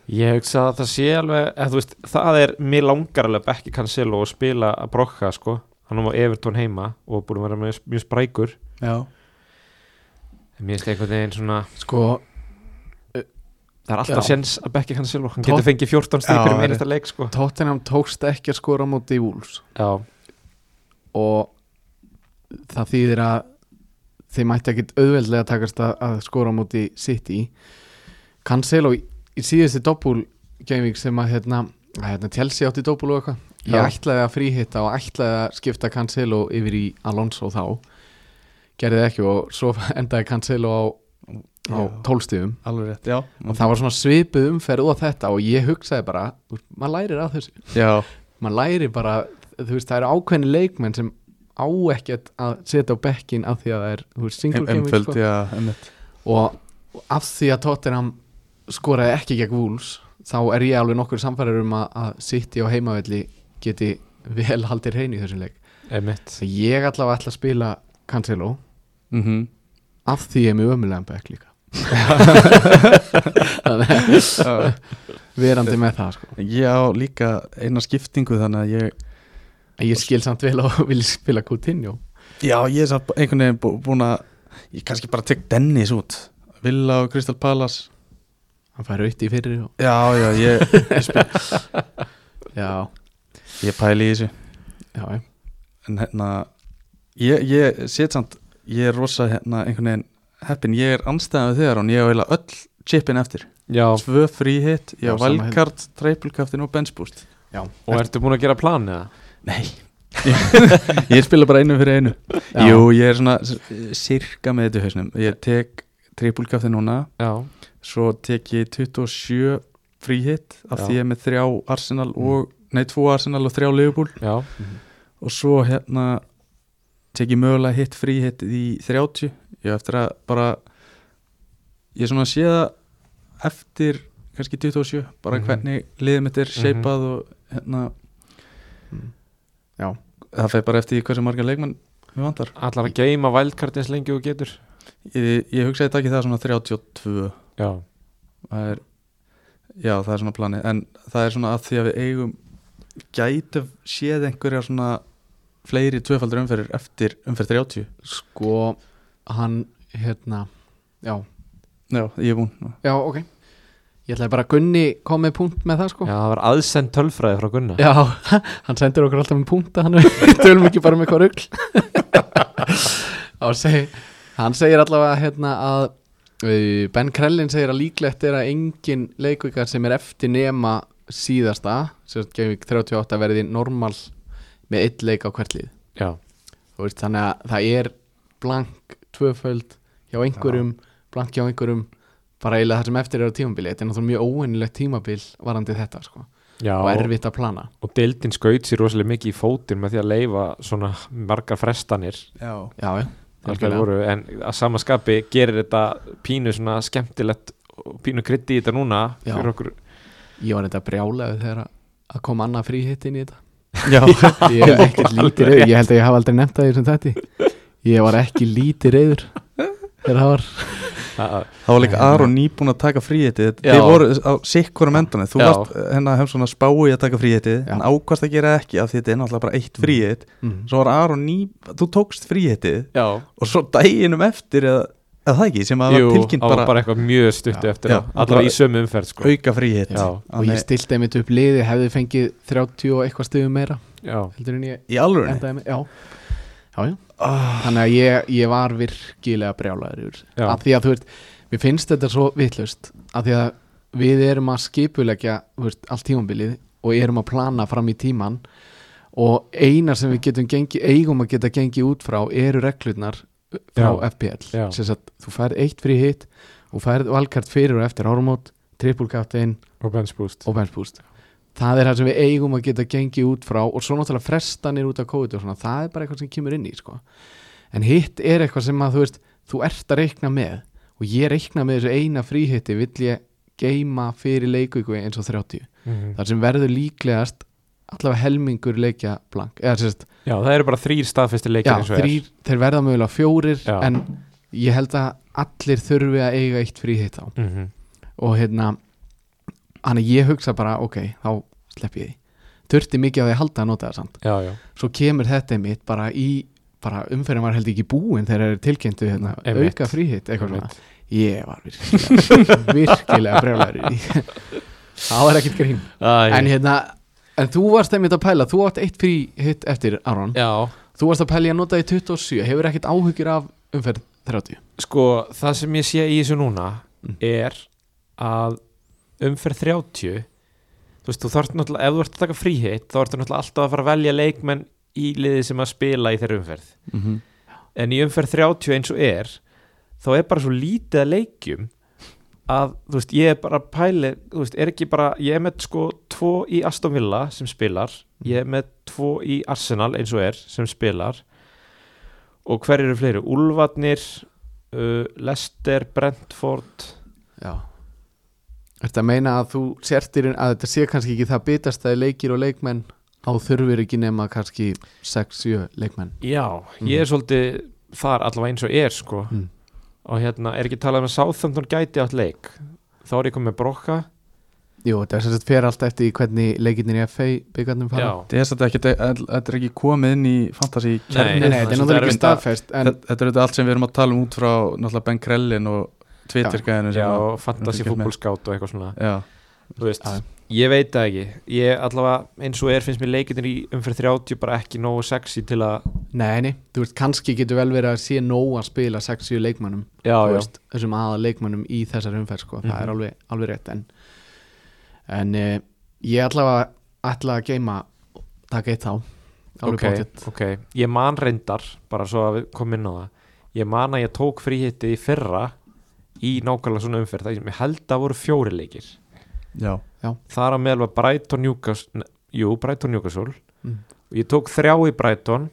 A: Ég hugsa að það sé alveg eða, þú veist, Það er, mér langar alveg ekki Cancelo að spila að brokka sko Hann var Everton heima og búin að vera mjög, mjög sprækur
C: Já,
A: En Mér finnst einhvern veginn svona
B: Sko,
A: Það er alltaf
B: Já.
A: sens að bekki Cancelo Hann
B: Topp.
A: getur fengið 14 stík
C: Já,
A: fyrir um
C: rétt.
A: einasta leik sko
B: Tottenham tókst ekki að skora á móti Wolves
A: Já,
B: og það þýðir að þeim ætti ekkit auðveldlega að takast að, að skora á móti City Cancelo í, í síðusti doppul gaming sem að hérna, að, hérna Chelsea átti doppul og eitthvað ég
A: Já.
B: ætlaði að fríhitta og ætlaði að skipta Cancelo yfir í Alonso þá gerði það ekki og svo endaði Cancelo á, á
C: Já.
B: tólstíðum
C: alveg rétt, já
B: og það var svona svipuð umferð og þetta og ég hugsaði bara, þú veist, maður lærir að þessu
C: Já,
B: maður læri bara, þú veist, það eru ákveðni leikmenn sem á ekkert að setja á bekkin af því að það er, þú veist, single gaming
C: einföld, já, einmitt
B: og, og af því að Tottenham skoraði ekki gegn Wolves þá er ég alveg nokkur samfærar um að, að City á heimavelli geti vel haldið hreinu í þessum leik
A: emitt
B: svo ég allavega ætla að spila Cancelo
C: mm -hmm.
B: af því ég er mjög ömulegan bekk líka Þannig að- verandi með það sko.
C: Ég á líka eina skiptingu þannig að ég
B: En ég skil samt vel að vilja spila Coutinho
C: Já, ég er samt einhvern veginn bú, búin að Ég kannski bara tek Dennis út Villa og Crystal Palace
B: hann fær aukt í fyrir og,
C: Já, já, ég,
B: já,
C: ég pæli í þessu
B: já, já
C: En hérna Ég, ég set samt Ég er rosa hérna einhvern veginn heppin Ég er anstæðan við þegar og ég á eiginlega öll chipin eftir
A: Já,
C: Tvö frí hit, ég
B: Já,
C: á
B: sama hérna.
C: valkart, treipulkaftin og benchboost
B: Já,
A: og ertu búin að gera plan eða?
C: Nei Ég spila bara einu fyrir einu
B: Já.
C: Jú, ég er svona s- sirka með þetta í hausnum Ég tek trippulkafti núna
A: Já,
C: Svo tek ég 27 fríhitt Af
A: Já.
C: því ég er með þrjá Arsenal og Nei, tvo Arsenal og þrjá Liverpool
A: já,
C: Og svo hérna Tek ég mögulega hitt fríhitt í 30 Ég á eftir að bara Ég svona sé það Eftir kannski 27 Bara
A: Mhm.
C: hvernig liðið mitt er shapeað Og hérna
B: Mm. Já.
C: Það fer bara eftir því hversu marga leikmann Við vantar
A: allar að geima vældkartins lengi og getur
C: Ég, ég hugsaði þetta ekki það svona 32
A: Já,
C: það er, Já, það er svona planið En það er svona að því að við eigum Gætu séð einhverja svona Fleiri tvöfaldur umferðir eftir umferð 30
B: sko hann hérna já,
C: Já, ég er búinn
B: já ok ég ætlaði bara að Gunni kom með punkt með það sko
A: já það var aðsend tölfræði frá Gunnar
B: Já, hann sendir okkur alltaf með punta hann tölum ekki bara með hvað rugl og segi, hann segir allavega hérna að uh, Ben Krellin segir að líklegt er að engin leikvikar sem er eftir nema síðasta sem sagt Geimvík 38 verði normal með eitt leik á hvert lið
A: Já,
B: Þú veist, þannig að það er blank tvöföld hjá einhverjum, blank hjá einhverjum bara eiginlega það sem eftir er á tímabili þetta er náttúrulega mjög óennilegt tímabil varandi þetta sko,
A: Já,
B: og erfitt að plana
A: og deildin skaut sér rosalega mikið í fótinn með því að leifa svona margar frestanir
C: já,
B: já, já,
A: Þær
B: algjörlega.
A: voru, en að sama skapi gerir þetta pínu svona skemmtilegt og pínu krytti í þetta núna
B: Já.
A: fyrir okkur
B: ég var þetta brjálega þegar að- að kom annað fríhittin í þetta
C: já.
B: ég er ekkert lítið
A: alveg
B: reyður, ég held að ég hafa aldrei nefnt það í þessum þætti ég var ekki lítið reyður þegar það var
A: að-
C: Það var líka Aron nýbúin að taka fríhetið
B: Já.
C: Þið voru á sikkur um endunni Þú
A: Já.
C: varst hennar hefum svona spái að taka fríhetið
B: Já.
C: En ákvast að gera það ekki af því þetta er náttúrulega bara eitt fríhet
B: mm.
C: Svo var Aron ný, þú tókst fríhetið
A: Já,
C: Og svo daginum eftir eða, eða það ekki sem
A: jú,
C: að var
A: það
C: tilkynnt
A: var
C: bara,
A: bara eitthvað mjög stuttu
B: Já.
A: eftir
C: Já.
A: já, allra í sömu umferð sko.
C: auka fríhet
A: Já.
B: og ég stilti einmitt upp liði hefði fengið 30 og eitthvað stöðum meira
A: Já.
B: heldur en ég
C: Í alvörunni
B: endaði með já, já, já.
C: Ah.
B: þannig að ég, ég var virkilega brjálæður yfir þessu.
A: Já.
B: af því að þú veist, mér finnst þetta svo vittlust af því að við erum að skipulegja þú veist, allt tímambilið og erum að plana fram í tíman og eina sem við getum gengi, eigum að geta gengið út frá eru reglurnar frá
A: Já.
B: FPL
A: Já.
B: sem sagt, þú færð eitt frí hitt og færð valkart fyrir og eftir árumót trippulkaftin
A: og bench boost
B: og benchboost það er það sem við eigum að geta gengið út frá og svo náttúrulega frestanir út af COVID og svona, það er bara eitthvað sem kemur inn í sko. en hitt er eitthvað sem að þú veist þú ert að reikna með og ég reikna með þessu eina fríhitti vill ég geima fyrir leikvíku eins og 30
A: Mhm.
B: þar sem verður líklegast allavega helmingur leikja blank eða sérst,
A: Já, það eru bara þrýr staðfesti leikir
B: já,
A: eins og
B: þrýr, þeir verða mögulega fjórir
A: Já.
B: en ég held að allir þurfi að eiga eitt fríhitt á
A: er mm -hmm.
B: og hérna hann að ég hugsa bara, ok, þá slepp ég því þurfti mikið á því að halda að nota það samt
A: Já, já,
B: svo kemur þetta mitt bara í bara umferðin var held ekki búin þegar það er tilkynntu hérna,
A: Einmitt.
B: auka fríhitt eitthvað svona,
A: Einmitt.
B: ég var virkilega virkilega brjóðlega það var ekkert grín
A: Æ,
B: en hérna, en þú varst einmitt að pæla þú átt eitt fríhitt eftir Aron
A: Já,
B: þú varst að pæla í að nota því 27 hefur ekkert áhugir af umferð 30
A: sko, það sem ég sé í þessu núna
B: Mm.
A: er að umferð 30 þú veist, þú þarft náttúrulega ef þú ert að taka fríhitt, þá ertu náttúrulega alltaf að fara að velja leikmenn í liði sem að spila í þeirra umferð
C: mm
B: Mhm.
C: -hmm.
A: en í umferð 30 eins og er þá er bara svo lítið að leikjum að þú veist, ég er bara pæli þú veist, er ekki bara, ég er með sko tvo í Aston Villa sem spilar ég er með tvo í Arsenal eins og er sem spilar og hver eru fleiri, Úlfarnir uh, Lester, Brentford
B: Já Ertu að meina að þú sértir að þetta sé kannski ekki það bitast að leikir og leikmenn á þurfur ekki nema kannski 6-7 leikmenn
A: Já, ég er svolítið þar allavega eins og er sko
B: Mm.
A: og hérna, er ekki talað um að Southampton gæti átt leik, þá er ég komið með Brokka,
B: Jú, þetta er sem sagt fyrir allt eftir í hvernig leikinnir í FA byggarnum fara
A: já
C: Þetta er ekki- þetta er ekki komið inn í fantasy
B: Nei, nei, þetta er náttúrulega ekki
C: erfitt að-
B: staðfest en,
C: Þetta þetta er þetta allt sem við erum að tala um út frá náttúrulega Ben Krellin og Twitter-gæðinu sem
A: Já,
C: að-
A: og fantasy
C: fylgjast með.
A: fútbolskátt og eitthvað svona
C: Já,
A: Þú veist,
B: Já.
A: ég veit það ekki Ég allavega eins og er finnst mér leikinir í umfyrir 30 bara ekki nógu sexy til að
B: Nei, nei, þú veist, kannski getur vel verið að sé nóg að spila 6-7 leikmennum
A: Já,
B: þú
A: já,
B: veist, þessum aða leikmönnum í þessar umferð sko. það
A: Mhm.
B: er alveg, alveg rétt en, en uh, ég allavega ætla að geima taka eitt þá alveg
A: ok,
B: okay.
A: ok Ég man reyndar, bara svo að við komum inn á það Ég man að ég tók fríhitti í fyrra í nákvæmlega svona umferð Það ég held að voru fjóri leikir
C: já,
A: Þar að meðal var Brighton Newcastle ne- Jú, Brighton Newcastle
B: Mm.
A: Og ég tók þrjá í Brighton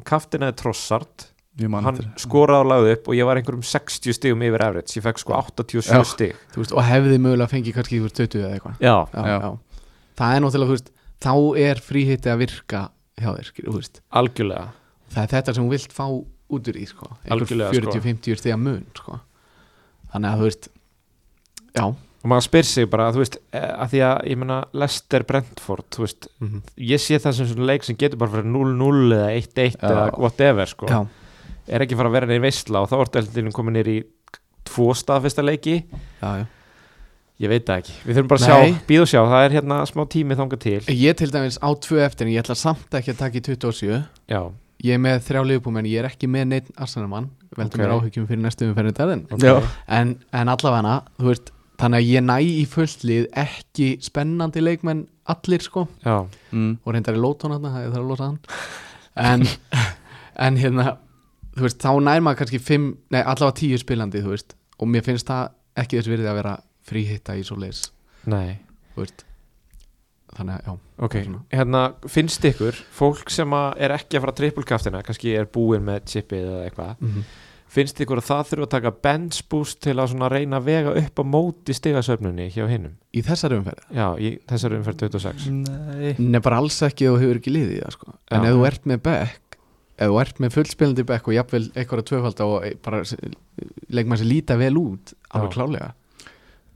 A: og kaftinaði Trossard
C: ég man
A: hann
C: eftir
A: skoraði og lagði upp og ég var einhverjum 60 stigum yfir average, ég fekk sko 87
C: Já.
A: stig
B: Þú veist, og hefði mögulega fengið kannski þú veist, 20 eða eitthvað
A: Já,
B: já,
C: Já.
B: já. það er náttúrulega, þú veist, þá er fríhitti að virka hjá þér skilur, þú veist.
A: algjörlega
B: það er þetta sem hún vilt fá út úr í sko.
A: Algjörlega,
B: 40-50 sko. stiga mun sko. þannig að þú veist já,
A: og maður spyr sig bara, þú veist, að því að ég meina Lester Brentford, þú veist ég sé það sem svona leik sem getur bara fyrir 0-0 eða 1-1
C: Já.
A: eða whatever sko,
B: já,
A: er ekki fara að vera neinn veistla og þá ertu heldurinn komin nýr í tvo staðfesta leiki,
B: já, já.
A: ég veit það ekki við þurfum bara að
B: Nei.
A: sjá, býð og sjá, það er hérna smá tími þangað til,
B: ég til dæmis á tvö eftir en ég ætla samt ekki að taka í 27
A: já,
B: ég er með þrjá liðbúmenn, ég er ekki með neitt arsenarmann,
A: Ok.
B: veldur mér áhyggjum fyrir næstu umferðin dæðin
A: ok
C: Já.
B: en, en allavega þú veist, þannig að ég næ í fullt lið ekki spennandi leikmenn allir sko,
A: já,
C: mm.
B: og reyndar í lótón hann það er það að losa hann en, en hérna þú veist, þá nær maður kannski fimm, nei, allavega tíu spilandi þú veist, og mér finnst það ekki þess virði að vera fríhitta í svoleiðis
A: Nei
B: þú veist. þannig að já,
A: Ok,
B: Svona.
A: hérna finnst ykkur fólk sem að er ekki að fara trippulkaftina kannski er búin með chipið eða eitthvað
B: mm
A: finnst ykkur að það þurfa að taka bench boost til að svona reyna að vega upp á móti stigasöfnunni hjá hinnum
B: í þessari umferð
A: Já, í þessari umferð 26
C: Nei
B: Nei, bara alls ekki ef þú hefur ekki liðið það sko.
A: Já.
B: en ef þú ert með back ef þú ert með fullspilandi back og jafnvel eitthvað að tvöfalda og e- bara legg maður sér líta vel út alveg
A: Já.
B: klálega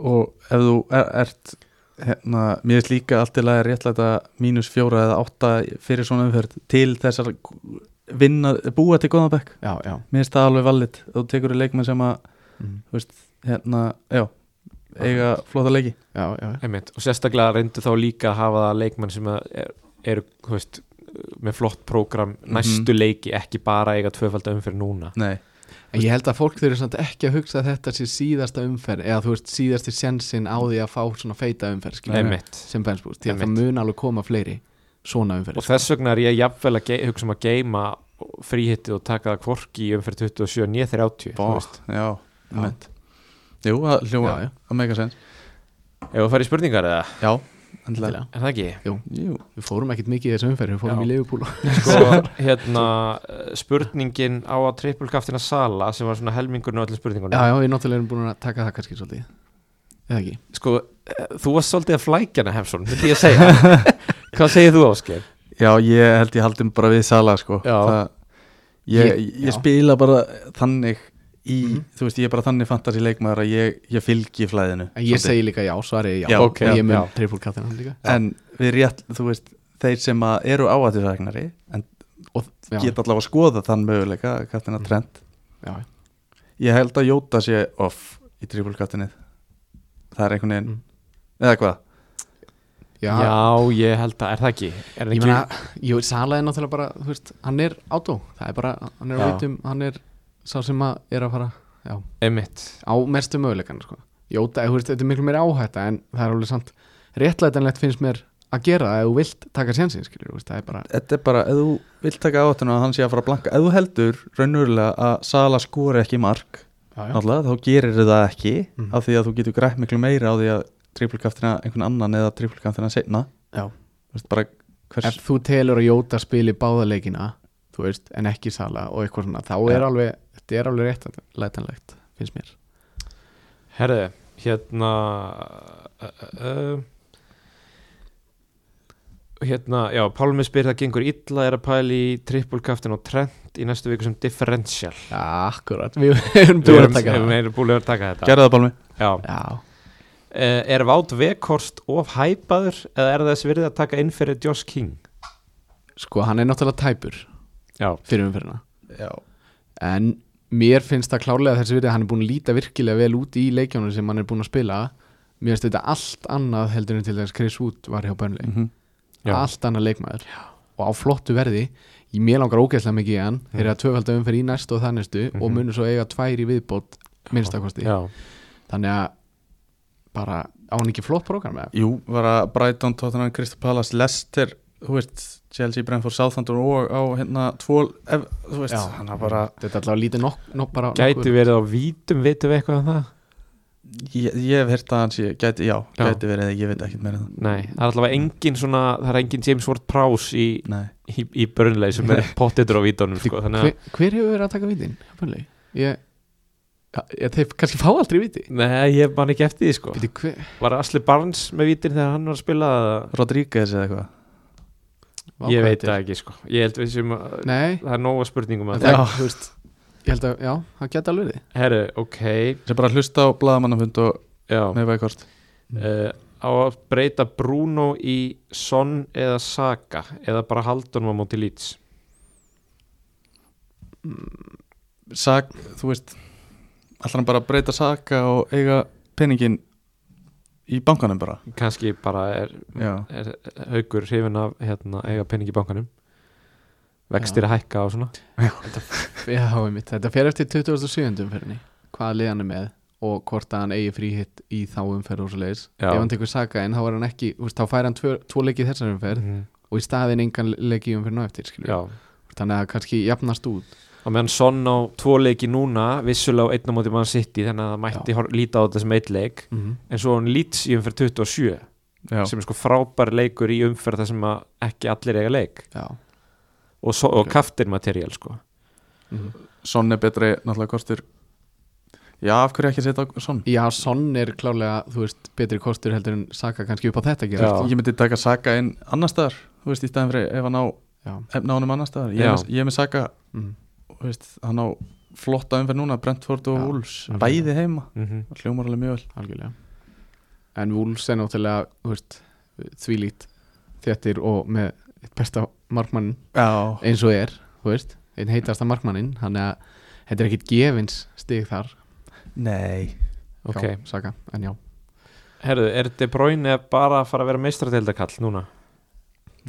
C: og ef þú er, ert hérna, mér finnst líka allt til að réttlæta mínus fjóra eða átta fyrir svona umferð til þess að vinna, búa til góðan bekk
B: já, já,
C: mér finnst það alveg valið, þú tekur í leikmenn sem að
A: Mhm.
B: mm.
C: hérna, já, eiga flóta leiki
B: já, já, já.
A: Einmitt. og sérstaklega reyndu þá líka að hafa það leikmann sem að er, er þú veist, með flott prógram næstu leiki, ekki bara eiga tvöfald umfyrir núna
C: Nei,
B: en ég held að fólk þurfi samt ekki að hugsa að þetta sé síðasta umferð eða þú veist síðasti sjensin á því að fá svona feita umferð skilur.
A: Einmitt.
B: sem bensbúst, því að það
A: Einmitt.
B: mun alveg koma fleiri svona umferð
A: og þess vegna er ég jafnvel að ge- hugsa um að geima fríhitti og taka það kvorki í umfyrir 27 nýja 30
C: bá,
A: þú veist.
C: já, mynd Jú, það hljóma,
B: Já, já.
C: það meika sens
A: ef þú farið spurningar eða,
C: Já, endilega
A: er það ekki?
C: Jú,
B: Við fórum ekkert mikið í þessu umferð, við fórum
A: Já.
B: í leifupúla
A: sko, hérna eh, spurningin á að trippulkaftina sala sem var svona helmingurinn á öllum spurningunum
B: Já, já, við náttúrulega erum búin að taka það kannski svolítið Eða ekki?
A: sko, eh, þú varst svolítið að flækjana hefson, myndi ég að segja hvað segir þú Ásker?
C: já, ég held ég haldum bara við Sala sko
A: Já.
C: Það, Ég,
B: Ég-
C: ég,
B: já.
C: spila bara þannig í,
B: Mhm.
C: þú veist, ég er bara þannig fantasi leikmaður að ég, ég fylgi flæðinu
B: En ég
C: svolítið.
B: segi líka já, svarið er já,
C: Já,
B: og
C: ok, já,
B: ég mun
A: já.
B: trippulkattina líka
C: en við rétt, þú veist þeir sem að eru áhættisæknari en
B: og, já,
C: geta allavega að skoða þann möguleika kattina trend
B: já, já.
C: ég held að Jóta sé off í trippulkattinni það er einhvern veginn
B: Mm.
C: eða hvað,
B: já,
A: Já, ég held að, er það ekki? Er það
B: Ég
A: ekki?
B: meina, jú, Sala er náttúrulega bara, þú veist, hann er átó Það er bara, hann er
A: Já.
B: á vitum, hann er sá sem að er að fara já,
A: Einmitt
B: á mestu möguleikan sko. Jóta, þú veist, þetta er miklu meira áhætta en það er alveg sant Réttlætanlegt finnst mér að gera það ef þú vilt taka sjansinn, skilur, þú veist, það er bara
C: þetta er bara ef þú vilt taka áhættuna að hann sé að fara að blanka ef þú heldur raunverulega að Sala skori ekki mark
B: já,
C: náttúrulega, þá gerir það ekki
B: Mhm.
C: af því að þú getur grætt miklu meira á því að trippulkattina einhvern annan eða trippulkattina setna
B: já.
C: þú veist bara hvers
B: ef þú telur að Jóta spili báða leikina þú veist, en ekki Sala og eitthvað svona, þá er
C: Já.
B: alveg þetta er alveg réttlætanlegt, finnst mér
A: Herðu, hérna uh, uh, Hérna, já, Pálmi spyr það gengur illa er að pæli í trippulkaftin og trend í næstu viku sem differential
B: Já, akkurat, við erum búin að taka
A: Við erum-
B: það
A: við erum búin að taka þetta
C: gerða það Balmi
A: Já,
B: Já,
A: uh, er Vát Vekhorst of hæpaður eða er þess virðið að taka inn fyrir Josh King?
B: sko, hann er náttúrulega tæpur
A: Já,
B: fyrir umferðina
C: já
B: en mér finnst það klárlega þessi verið að hann er búin að líta virkilega vel út í leikjónu sem hann er búin að spila mér finnst þetta allt annað heldur en til þess Chris Wood var hjá Burnley
A: Mm,
C: Mhm.
A: já,
B: allt annað leikmaður og á flottu verði ég mér langar ógeðslega mikið í hann þeir eru að tvöfalda umferð í næstu og þannistu og
A: Mm. Mhm.
B: munur svo eiga tvær í viðbót minnstakosti,
A: já,
B: þannig að bara á hann ekki flott prógram eða?
C: Jú, var að Brighton, Tottenham, Crystal Palace, Leicester þú veist, Chelsea, Brentford, Southampton og á hérna tvól ef, þú veist,
B: Já.
C: hann er bara
B: þetta er allavega lítið nokk nok, bara
A: gæti
B: nokkuð-
A: verið á vítum, vitum við eitthvað um það?
C: ég, ég hef heyrt að hann sé, gæti, já,
A: Já.
C: gæti verið ég veit ekkert meira en það
A: Nei, það er allavega engin svona, það er engin James Ward Prowse í,
C: Nei.
A: í, í börnlegi sem er pottitur á vítunum sko, þannig
B: hver,
A: að,
B: hver hefur verið að taka vitin? Burnley? ég, ja, ég þeir kannski fá aldrei viti
A: nei, ég man ekki eftir því sko
B: Viti, hver,
A: Var Asli Barnes með vítin þegar hann var að spila eða?
C: Rodríguez eða eitthvað
B: vá,
A: Ég
B: hvað
A: veit
B: þetta er.
A: það ekki sko, ég held við sem að
B: nei,
A: það er nóga spurningum að
B: það,
A: það
B: þú veist ég held að, já, það geti alveg verið
A: Herru, ok,
C: sem bara hlusta á blaðamannafund og
A: já
C: með veikort
A: uh, Á að breyta Bruno í Son eða Saka eða bara Haldunum á móti Leeds
C: Sag, þú veist allar hann bara að breyta saga og eiga peningin í bankanum bara
A: Kanski bara er,
C: já,
A: er haugur hrifin af hérna, eiga pening í bankanum Vextir að hækka og svona
B: Já, einmitt. þetta fer eftir 27. umferðinni hvað liðan er með og hvort að hann eigi fríhitt í þá umferð og svo leiðis
A: Já.
B: ef hann tekur saka en þá er hann ekki úst, þá fær hann tvö, tvo leiki í þessar umferð
A: Mhm.
B: og í staðin engan leiki í umferðinu eftir skilur.
A: Já,
B: þannig að það kannski jafnast út
A: á meðan Son á tvo leiki núna vissulega á einn á móti mann sitt í þannig að það mætti hor- líta á þetta sem eitt leik
B: mm -hmm.
A: en svo hann lýts í umferð 27
C: Já,
A: sem er sko frábær leikur í umferð þar sem að ekki allir eiga leik
B: Já
A: og, so og kaftir materiál sko
C: Son er betri náttúrulega kostur Já, af hverju ekki að setja á Son?
B: Já, Son er klálega, þú veist, betri kostur heldur en Saka kannski upp á þetta
A: Já.
B: gerast
C: Ég myndi taka Saka inn annar staðar Þú veist, í staðan fyrir ef hann á
B: Já.
C: efna honum annar staðar Ég, er
A: Já.
C: með- ég er með Saka,
B: Mm.
C: þú veist, hann á flotta umferð núna Brentford og
B: Já,
C: Wolves,
B: alveg.
C: bæði heima
A: mm -hmm.
C: Það Hljómar alveg mjög vel
B: algjörlega En Wolves er náttúrulega, þú veist, þvílít þéttir og með eitt besta markmann
C: Já,
B: eins og er, þú veist, einn heitasta markmannin þannig að þetta er ekkit gefins stig þar
C: nei
A: Ok.
B: hjá Saka, en já
A: Herðu, er De Bruyne bara að fara að vera meistradeildakall núna?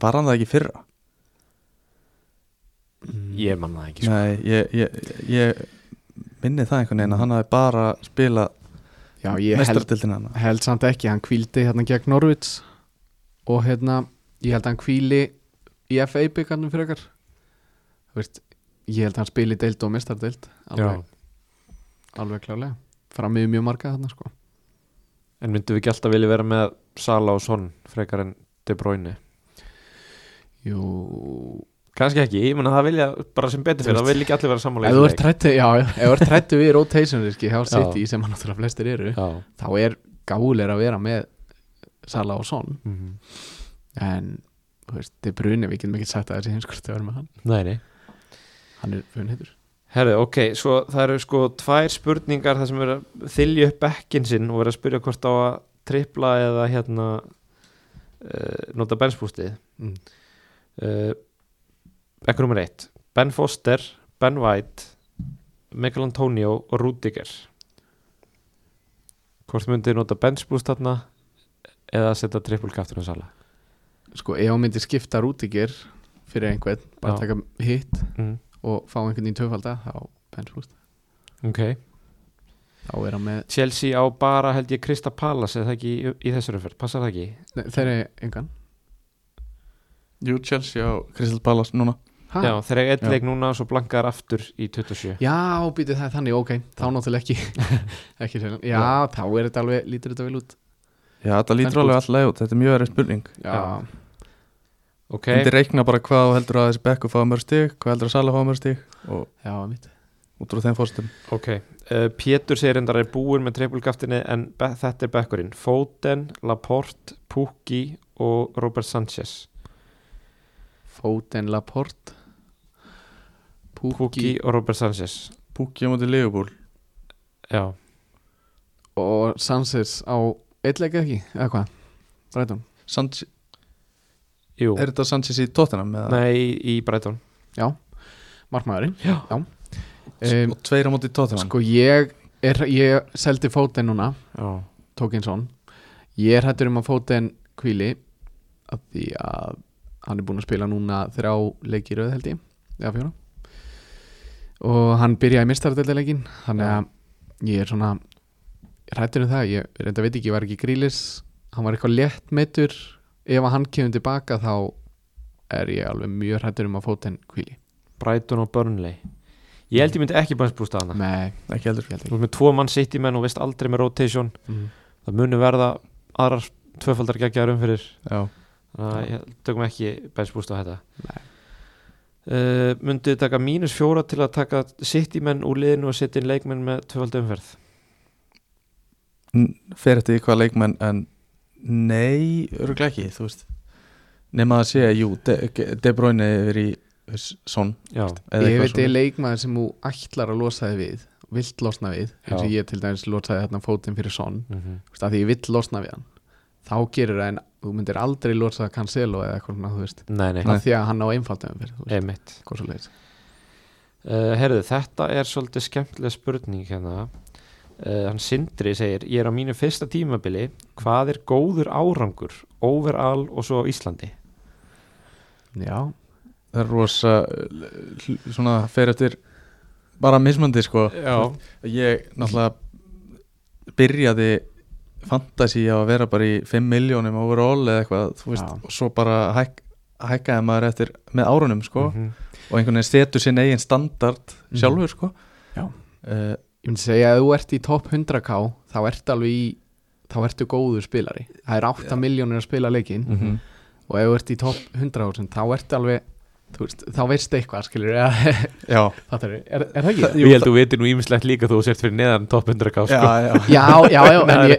C: Var hann það ekki í fyrra?
A: Ég manna það ekki sko.
C: Nei, ég, ég, ég minni það einhvern veginn að hann hafi bara spilað
B: Já, ég held,
C: mestardildin hann
B: held samt ekki, hann kvíldi hérna gegn Norvits og hérna, ég held að hann kvíli í FA byggarnum fyrir okkar Þú veist, ég held að hann spili deild og mestardeild alveg, alveg klálega frammiði mjög marga þarna sko
A: En myndum við ekki alltaf vilja vera með Sala og Son frekar en De Bruyne?
B: Jú,
A: Kannski ekki, ég menna það vilja bara sem betur fyrir,
B: Þú
A: það vilja ekki allir vera sammála í
B: ef þú
A: þessum
B: ert trættu, já, já, ef þú ert trættu við rotation riski hjá
A: Já.
B: City sem hann náttúrulega flestir eru
A: Já,
B: þá er gáðulega að vera með Sala og Son
A: mm
B: en, þú veist, þið brunni við getum ekki sagt að þessi heimskurti að vera með hann
A: nei, nei
B: hann er funhittur
A: Herðu, ok, svo það eru sko tvær spurningar þar sem eru að þylja upp bekkin sinn og vera að spyrja hvort á að tripla eða hérna uh, nota benspústið
B: Mm.
A: uh, Ekkur nummer eitt Ben Foster, Ben White Michael Antonio og Rudiger Hvort myndið nota benspúst þarna eða setja trippulkaftur um sala
B: sko ef hann myndi skipta rútigir fyrir einhvern, bara
A: Já.
B: taka hitt
A: mm.
B: og fá einhvern í töfalda þá pensfúst,
A: Ok,
B: þá er hann með
A: Chelsea á bara held ég Krista Palace eða það ekki í, í þessari fyrr, passar það ekki?
B: Nei, þeir eru engan
C: Jú, Chelsea á Crystal Palace núna
B: ha?
A: Já, þeir eiga eitt
C: Já.
A: leik núna og svo blankar aftur í 27
B: já býtu það er þannig, ok, þá náttúrulega ekki ekki sér, já,
A: Já.
B: þá er þetta alveg lítur þetta vel út
C: Já, þetta lítur alveg alltaf út, þetta er mjög verið spurning
B: já,
A: Já. Ok,
C: okay. Myndi reikna bara hvað þú heldur að þessi bekku fá mörg stig Hvað heldur að Sala fá mörg stig Og
B: já, mitt
C: út úr þeim fórstum
A: ok uh, Pétur segir endar er búin með trefbulgaftinni en be- þetta er bekkurinn Foden, Laporte, Pukki og Robert Sanchez
B: Foden Laporte
A: Pukki
B: Pukki
A: og Robert Sanchez
C: Pukki á móti Leopold
A: Já,
B: og Sanchez á eitlega ekki, eða hvað Rætum.
C: Sanchez,
A: jú
C: Er þetta Sanchez í Tottenham? eða?
A: Nei, í Brighton
B: markmaðurinn
A: Já.
B: um,
C: Og Sko, tveir á móti Tottenham
B: sko ég, er, ég seldi Foden núna
A: Já,
B: Tókinsson ég er hættur um að Foden kvíli af því að hann er búinn að spila núna þrjá leiki í röð held ég eða fjóra og hann byrjaði mistardeldaleikin þannig að ég er svona hættur um það, ég reynda veit ekki, ég var ekki grílis hann var eitthvað létt meittur ef að hann kemur tilbaka þá er ég alveg mjög hættur um að Foden kvíli
A: Brighton og Burnley Ég held ég myndi ekki bænsbústa hana
B: Nei,
C: Ekki heldur
B: ég held
A: Þú ert með tvo mann sitt í menn og veist aldrei með rotation
B: ekki mm.
A: Það munu verða aðrar tvöfaldar geggjaðar umfyrir
C: Já.
A: Þannig að ég- tökum ekki bænsbúst á þetta
B: Nei.
A: uh, Mundið taka mínus fjóra til að taka sitt í menn úr liðinu og setja inn leikmenn með tvöfald umferð
C: N- Fer eftir í hvaða leikmenn En nei, örgulega ekki Þú veist Nefna að segja, jú, De, De Bruyne yfir í Son
A: Já,
C: eða
B: Ég
C: eitthvað
B: veit
C: svona.
B: ég leikmaður sem þú ætlar að losa þig við vilt losna við, eins og
A: Já.
B: ég til dæmis losaði þarna fótinn fyrir son,
A: Mhm.
B: þú veist, að því ég vill losna við hann, þá gerur það en þú myndir aldrei losa Cancelo eða eitthvað svona, þú veist,
A: Nei, nei,
B: af því að hann á einfaldum fyrir, þú veist,
A: einmitt
B: hvað svo leiðis
A: uh, Herðu, þetta er svolítið skemmtileg spurning hérna uh, Hann Sindri segir Ég er á mínu fyrsta tímabili Hvað er góður árangur? Overall og svo á Íslandi
B: Já,
C: Það er rosa l- l- Svona fer eftir Bara mismandi sko
A: Já,
C: Ég náttúrulega byrjaði fantasi á að vera bara í 5 miljónum overall eða eitthvað, þú veist,
B: Já.
C: og svo bara hæk, hækkaði maður eftir með árunum sko,
A: Mhm.
C: og einhvern veginn setur sinn eigin standard
B: Mhm.
C: sjálfur sko.
B: Já.
C: Eh,
B: Ég myndi segja að ef þú ert í top 100k þá ertu alveg í þá ertu góður spilari það er 8 miljónir að spila leikinn
C: mhm.
B: og ef þú ert í top 100 þá ertu alveg þú veist, þá veistu eitthvað skilur er,
C: Já,
B: er, er það ekki?
A: Ég held að þú veitir nú ímislegt líka þú sért fyrir neðan top 100 ká sko.
C: já, já.
B: já, já, já, en ég,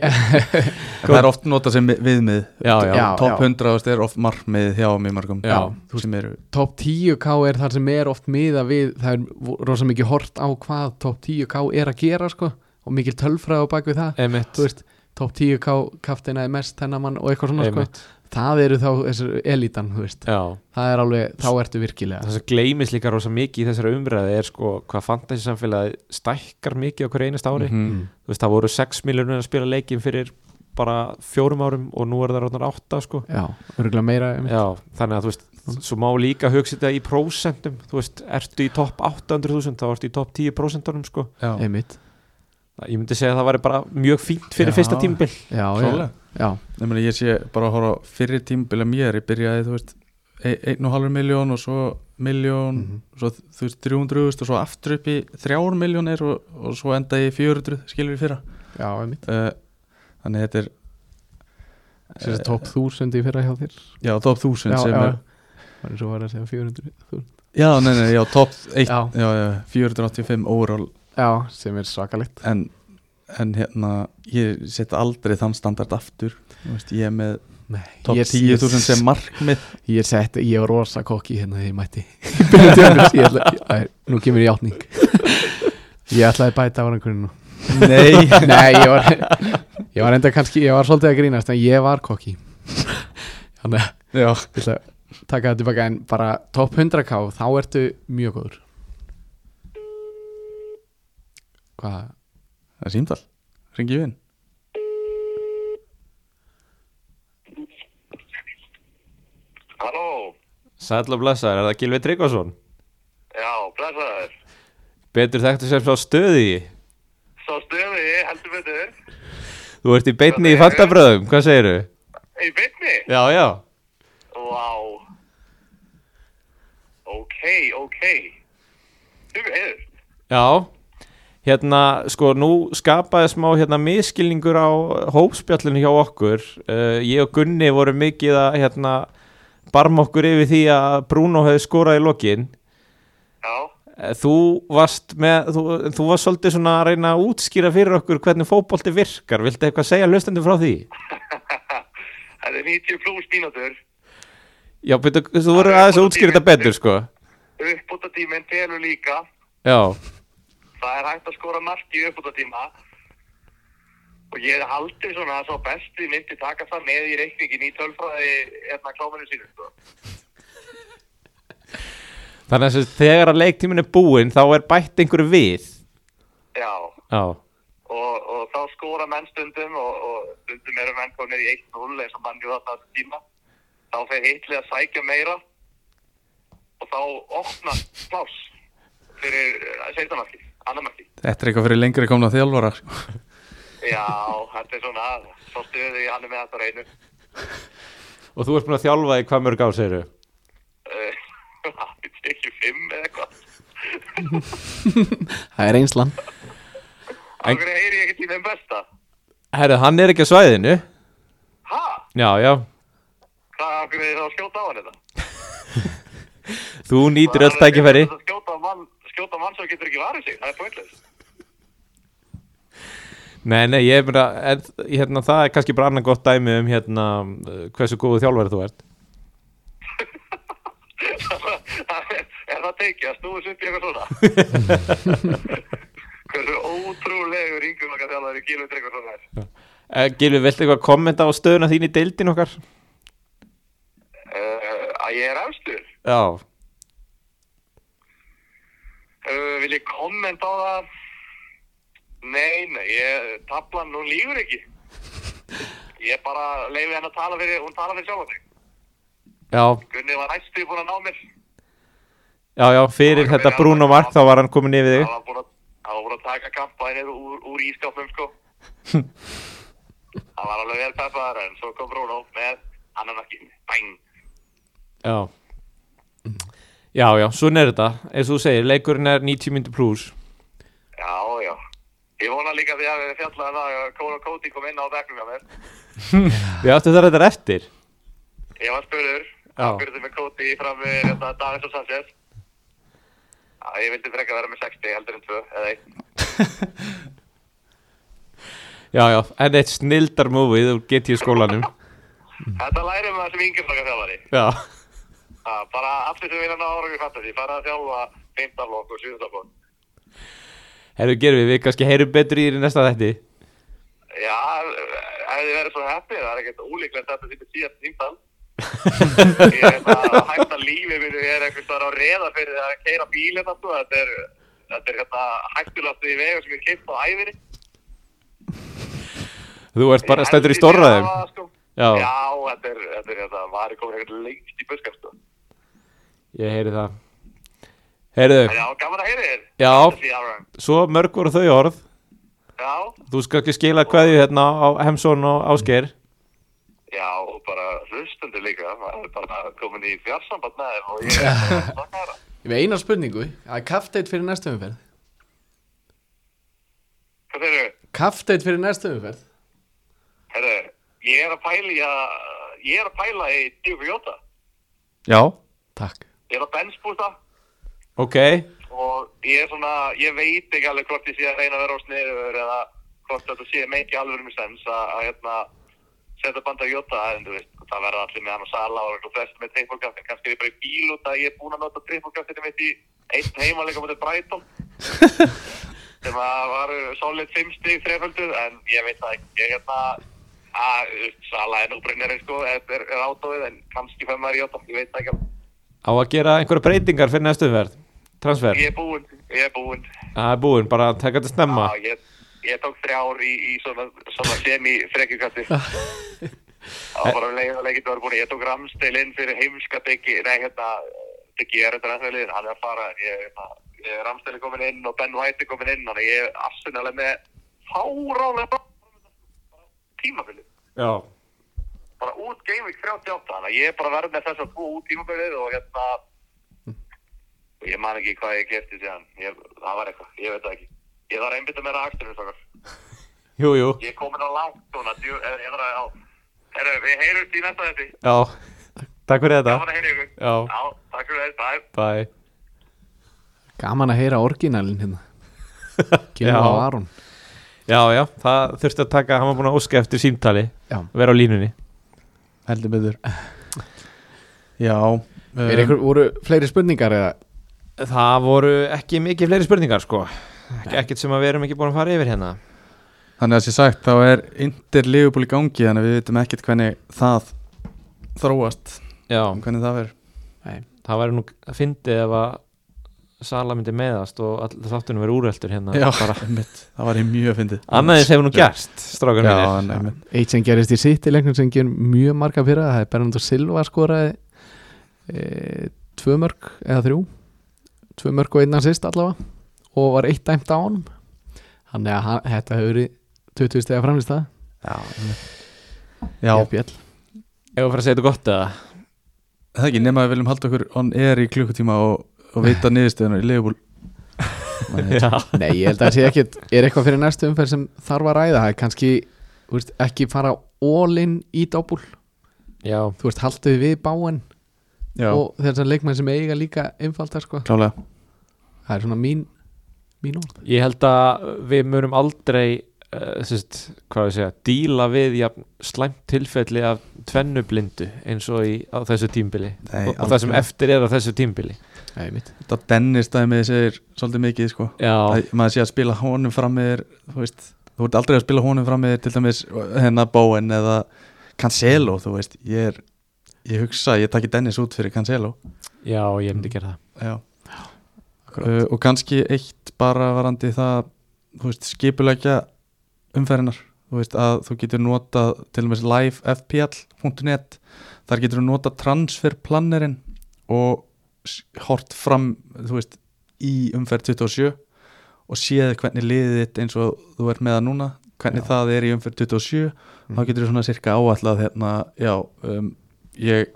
C: En það er oft notað sem vi- viðmið
A: Já, já.
B: Já, já.
C: Top 100 er oft markmið hjá mjög mörgum
A: Já.
C: Þú sem eru
B: top 10k er þar sem er oft miða við, það er rosa mikið hort á hvað top 10k er að gera sko, og mikil tölfræð á bak við það
A: Einmitt,
B: þú veist, top 10k kaftina er mest hennar mann og eitthvað svona sko.
A: einmitt.
B: það eru þá þessu elitan, þú veist
A: Já.
B: það er alveg, þá ertu virkilega
A: það sem gleymis líka rosa mikið í þessari umræði er sko hvað fantasy samfélagi stækkar mikið á hverju einast ári
C: Mhm.
B: Mm.
A: þú veist það voru 6 miljonur að spila leikin fyrir bara fjórum árum og nú er það ráðnar 8 sko
B: já, örgulega meira einmitt.
A: Já, þannig að þú veist svo má líka hugsa þetta í prósentum þú veist, ertu í topp 800.000 þá ertu í topp 10 prósentunum sko
C: Já,
B: einmitt,
A: ég myndi segja að það væri bara mjög fínt fyrir
C: Já.
A: fyrsta tímbil
B: já, já,
C: klálega
B: já
C: Ég meina, Ég sé bara að horfa á fyrri tímbil að mér, ég byrjaði, þú veist e- einn og halvur miljón og svo miljón
B: Mhm.
C: svo þú veist 300 og svo aftur upp í þrjár miljónir og, og svo enda ég í 400 skilur við fyrra
B: já, einmitt,
C: uh, þannig þetta er
B: þessi
C: Eh,
B: top 1000 í fyrra hjá þér
C: já, top 1000
B: já, já,
C: sem er
B: var eins og var að segja 400
C: já, nei, nei, já, top 1
B: Já.
C: já. Já, 485 overall
B: já, sem er svakalegt
C: en, en hérna ég set aldrei þann standard aftur Þú veist, ég er með top 10.000 sem markmið
B: Ég seti, ég var rosa kokki hérna þegar ég mætti Í byrjun tímabils, ég ætla, ég, Nú kemur ég átning Ég ætlaði að bæta árangurinn nú
C: nei,
B: Nei, ég var Ég var enda kannski, ég var svolítið að grínast En ég var kokki Þannig að
C: já,
B: ég ætla að taka þetta tilbaka En bara top 100k, þá ertu mjög góður Hvað?
C: það er símtal ringi við inn
E: Halló,
A: Sæll og blessaður, er það Gilvi Tryggvason?
E: já, blessaður.
A: Betur þekktu sem frá stöði
E: Sá stöði, heldur betur.
A: Þú ert í beinni í fantabröðum, hvað segiru?
E: Í byrni?
A: Já, já
E: Vá. Ok, ok. Þú hefur.
A: Já, hérna sko nú skapaði smá hérna miskilningur á hópspjallinu hjá okkur uh, ég og Gunni voru mikið að hérna barma okkur yfir því að Bruno hefði skorað í lokin
E: Já,
A: Eh, þú varst með þú, þú varst svolítið svona að reyna að útskýra fyrir okkur hvernig fótbolti virkar viltu eitthvað segja hlustandi frá því?
E: það er 90 pluss mínútur.
A: Já, betur, þú voru aðeins að útskýra þetta betur sko
E: Uppbúttatíminn telur líka.
A: Já,
E: Það er hægt að skora mark í uppbúttatíma. Og ég hefði haldið svona að sá besti myndi taka það með í reikningin í tölfræði hérna kláminu sínum. sko.
A: þannig að sem sagt, þegar að leiktímin er búinn þá er bætt einhverju við
E: Já.
A: Já,
E: og, og þá skóra menn stundum og, og stundum eru menn komnir í 1-0 eins og mann gjúða þetta tíma þá fer hitlið að sækja meira og þá opnar plás fyrir eh, seitamarki, annarmarki
C: þetta er eitthvað fyrir lengri komna þjálfara sko.
E: já, þetta er svona svo stuði hann er með þetta reynu
A: og þú ert búin að þjálfa í hvað mörg ár segiru?
E: Eh, það er ekki fimm eða eitthvað
B: Það er einslan
E: af hverju heyri ég ekki til þeim besta
A: Herru, hann er ekki á svæðinu
E: ha,
A: Já, já
E: hvað af hverju er það að skjóta á hann þetta
A: Þú nýtir öll tækifæri
E: Það er að skjóta á mann, skjóta á mann sem getur ekki varðið sig það er pointless
A: Nei, nei, ég er bara en, hérna, Það er kannski bara annan gott dæmi um hérna, uh, hversu góðu þjálfari þú ert
E: er það tekið að snúðis upp í eitthvað svona hversu ótrúlegur yngur okkar þjálfari Gílu Tryggvason er
A: uh, Gilvi, viltu eitthvað kommenta á stöðuna þín í deildin okkar?
E: uh, að ég er efstur
A: Já,
E: uh, vil ég kommenta á það nei, nei ég, tablan, hún lífur ekki ég bara leiði henn að tala fyrir hún tala fyrir sjálf mig
A: já,
E: Gunni var æstu búin að ná mér
A: já, já Fyrir þetta Bruno Mark þá var hann komin yfir
E: hann
A: þig
E: var búin að, hann var búin að taka kampænir úr, úr ískapnum sko hann var alveg vel peppaðar en svo kom Bruno með annan ekki bæng
A: Já Já, já, svona er þetta eins og þú segir, leikurinn er 90 myndi pluss
E: Já, já. Ég vona líka því að við fjallaði það að Kóra Kóti kom inn á bekknum hjá mér.
A: Við áttum þetta reyndar eftir
E: Ég var spurður,
A: Já.
E: spurður þið með Kóti fram við þetta Davins og Sanchez. Já, ég vildi frekka vera með 60 heldur en 2 eða 1.
A: Já, já, en eitt snildar móvið úr GT skólanum
E: Þetta lærir maður sem yngir flokka þjálfari.
A: Já,
E: Já, bara allir sem vilja ná árangur fantasy, fara að þjálfa 15 blokk og 7 blokk.
A: herru gerfi, við kannski heyrum betur í þér í næsta þætti
E: Já, ef þið verður svo heppið, það er ekkert ólíklegt að þetta sé síðast tímtal. Ég er það að hætta lífið minni, ég er einhvers þar á reða fyrir að keira bílinn alltaf, þetta er, þetta er hérna hættulast í vegum sem ég keipt á æfinni.
A: Þú ert bara stættur í stórraðum
E: Sko.
A: Já.
E: Já. þetta er, þetta er hérna, maður er komin eitthvað lengt í buskar, sko.
A: Ég heyri það Heyrðu,
E: En já, gaman að heyri þér.
A: Já.
E: Fantasy Hour.
A: svo mörg voru þau orð
E: Já,
A: Þú skal ekki skila kveðju hérna á Hemsón og Ásgeir
E: já, og bara hlustundu líka, maður er bara komin í fjársamband með þeim og ég er bara að þakka þeirra.
B: Ég með eina spurningu, að kafteit fyrir næstu umferð
E: Hvað þeir
B: Kafteit fyrir næstu umferð
E: Herru, ég er að pæla í að ég er að pæla í Tíu Fjóta
A: Já
B: Takk
E: ég er að bensbústa
A: Ok,
E: og ég er svona, ég veit ekki alveg hvort ég sé að reyna að vera á sniður eða hvort þetta sé meiki alveg um sens að, að hérna setja banda Jóta en þú veist, það verða allir með hann og Sala og eitthvað flest með trippulkaftin, kannski er ég bara í bíl út að ég er búin að nota trippulkaftinu mitt í einn heimalega mútið Brighton sem að var solid 5 stig þreföldu en ég veit það ekki ég hérna að þú veist, Sala er nú brennirinn sko er, er átóið en kannski fem maður í Jóta, ég veit það ekki alveg.
A: á að gera einhverja breytingar fyrir næstu umverð Transfer,
E: ég er búinn, ég er búinn
A: það er búin, bara taka þetta snemma
E: Já, ég, ég tók þrjár í, í svona, svona semi-frekkjukasti. Það var bara um leið að leikinn var búin. Ég tók Ramstil inn fyrir heimska Diggi, nei hérna, Diggi er þetta næstfælið, hann er að fara. Ég, hérna, ég, Ramstil er komin inn og Ben White er komin inn, þannig að ég er afsynnalega með fárálega bara tímabilið.
A: Já,
E: Bara út Gameweek 38, þannig að ég er bara verð með þess að búa út tímabilið og hérna, og ég man ekki hvað ég kefti síðan. Ég, það var eitthvað, ég veit það ekki. Ég þarf að einbytta mér að akturinn, svakar.
A: jú, jú
E: Ég er komin á langt núna, djú, er, er, er, er, við heyrjumst í næsta þetta.
A: Já, takk fyrir
E: Það var
A: þetta
E: að heyrja ykkur.
A: Já.
E: Já, takk fyrir þetta. Bye.
A: Bye
B: Gaman að heyra orginalin hérna
A: Já.
B: Gilva og Aron
A: Já, já, það þurfti að taka, hann var búin að óska eftir símtali
B: Já.
A: Vera á línunni
C: heldur betur já um,
B: Er ykkur, voru fleiri spurningar eða?
A: Það voru ekki mikið fleiri spurningar sko Ekki, Ekkert sem að við erum ekki búin að fara yfir hérna
C: þannig að sem sagt þá er Inter Liverpool í gangi þannig að við veitum ekkert hvernig það þróast
A: Já,
C: hvernig það verður
A: það væri nú að fyndi ef að Sala myndi meðast og all, þáttunum verið úreltur hérna
C: já, einmitt, það var í mjög fyndið
A: Annaðins hefur nú gerst, strákar
C: já,
A: mínir
C: en einmitt.
B: Eitt sem gerist í sitt í leiknum sem ger mjög marga fyrir það er Bernardo Silva skoraði e, tvö mörg eða þrjú tvö mörg og einna sýst allavega og var eitt dæmt á honum hann er að hann- þetta hefur verið 20 stega framlist það
C: já, einmitt. já
A: Ef að fara að segja þetta gott eða
C: Það er ekki nema að við viljum halda okkur on air í klukkutíma og, og veita niðurstöðunar í Leifbúl
A: Já,
B: Nei, ég held að það sé ekkit er eitthvað fyrir næstu umferð sem þarf að ræða það er kannski, þú veist, ekki fara all-in í doppul
A: já,
B: þú veist, haldið við báin
C: Já,
B: og þess að leikmenn sem eiga líka einfaldar sko.
C: klálega
B: það er svona mín mín orð
A: ég held að við munum aldrei uh, sérst, hvað við segja, díla við jafn, slæmt tilfelli af tvennu blindu eins og í, á þessu tímbili
C: Nei,
A: og, og það sem
C: algjörlega.
A: eftir er á þessu tímbili
B: Nei, mitt.
C: Þetta Dennis dæmið segir svolítið mikið sko.
A: Já,
C: að maður sé að spila honum fram með þér þú veist, þú ert aldrei að spila honum fram með þér til dæmis hennar Bowen eða Cancelo, þú veist ég, er, ég hugsa, að ég takki Dennis út fyrir Cancelo
A: já, ég myndi gera það
C: Já, uh, og kannski eitt bara varandi það þú veist, skipulegja umferðinar þú veist, að þú getur notað til og með livefpl.net þar getur þú notað transferplannerinn og s- hort fram, þú veist, í umferð 27 og séð hvernig liðið þitt eins og þú ert með það núna hvernig það er í umferð 27 þá getur þú svona cirka áallat hérna, já, um, ég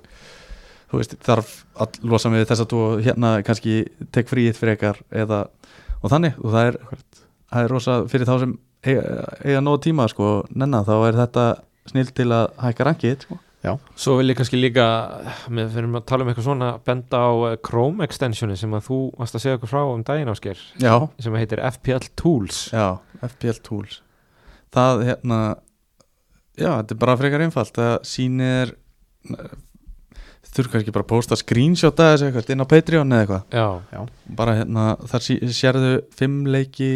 C: þú veist, þarf að losa mig við þess að þú hérna kannski tek fríið fyrir ykkar eða, og þannig, og það er það er rosa fyrir þá sem eiga, eiga nóg tíma, sko, nennan þá er þetta snill til að hækka rangið sko.
A: Svo vil ég kannski líka með fyrir að tala um eitthvað svona benda á eh, Chrome extensioni sem að þú varst að segja okkur frá um daginn ásker
C: já,
A: sem heitir FPL Tools
C: já, FPL Tools það, hérna já, þetta er bara frekar einfalt það sýnir þurfa kannski bara að posta screenshot að þessu eitthvað inn á Patreon eða eitthvað
A: Já,
C: bara hérna, þar sí- sérðu fimm leiki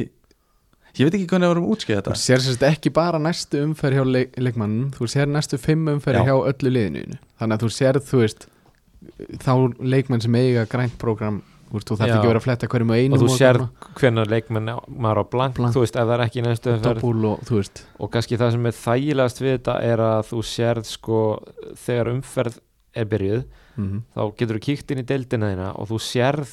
C: ég veit ekki hvernig við vorum útskið
B: Þú
C: þetta
B: sér sérst ekki bara næstu umferð hjá leik, leikmannum, þú sér næstu fimm umferð
C: Já.
B: hjá öllu liðinu þínu. þannig að þú sér, þú veist þá leikmann sem eiga grænt prógram þú veist, þú þarf
A: Já.
B: ekki að vera að fletta hverjum og einum
A: og þú
B: og
A: sér hvenær leikmenn á- maður á blank,
B: Blank.
A: þú veist, ef það er ekki í næstu
B: svona
A: umferð
B: doppúl og þú veist
A: og kannski það sem er þægilegast við þetta er að þú sérð sko þegar umferð er byrjuð
B: mm -hmm.
A: þá getur þú kíkt inn í deildina þína og þú sérð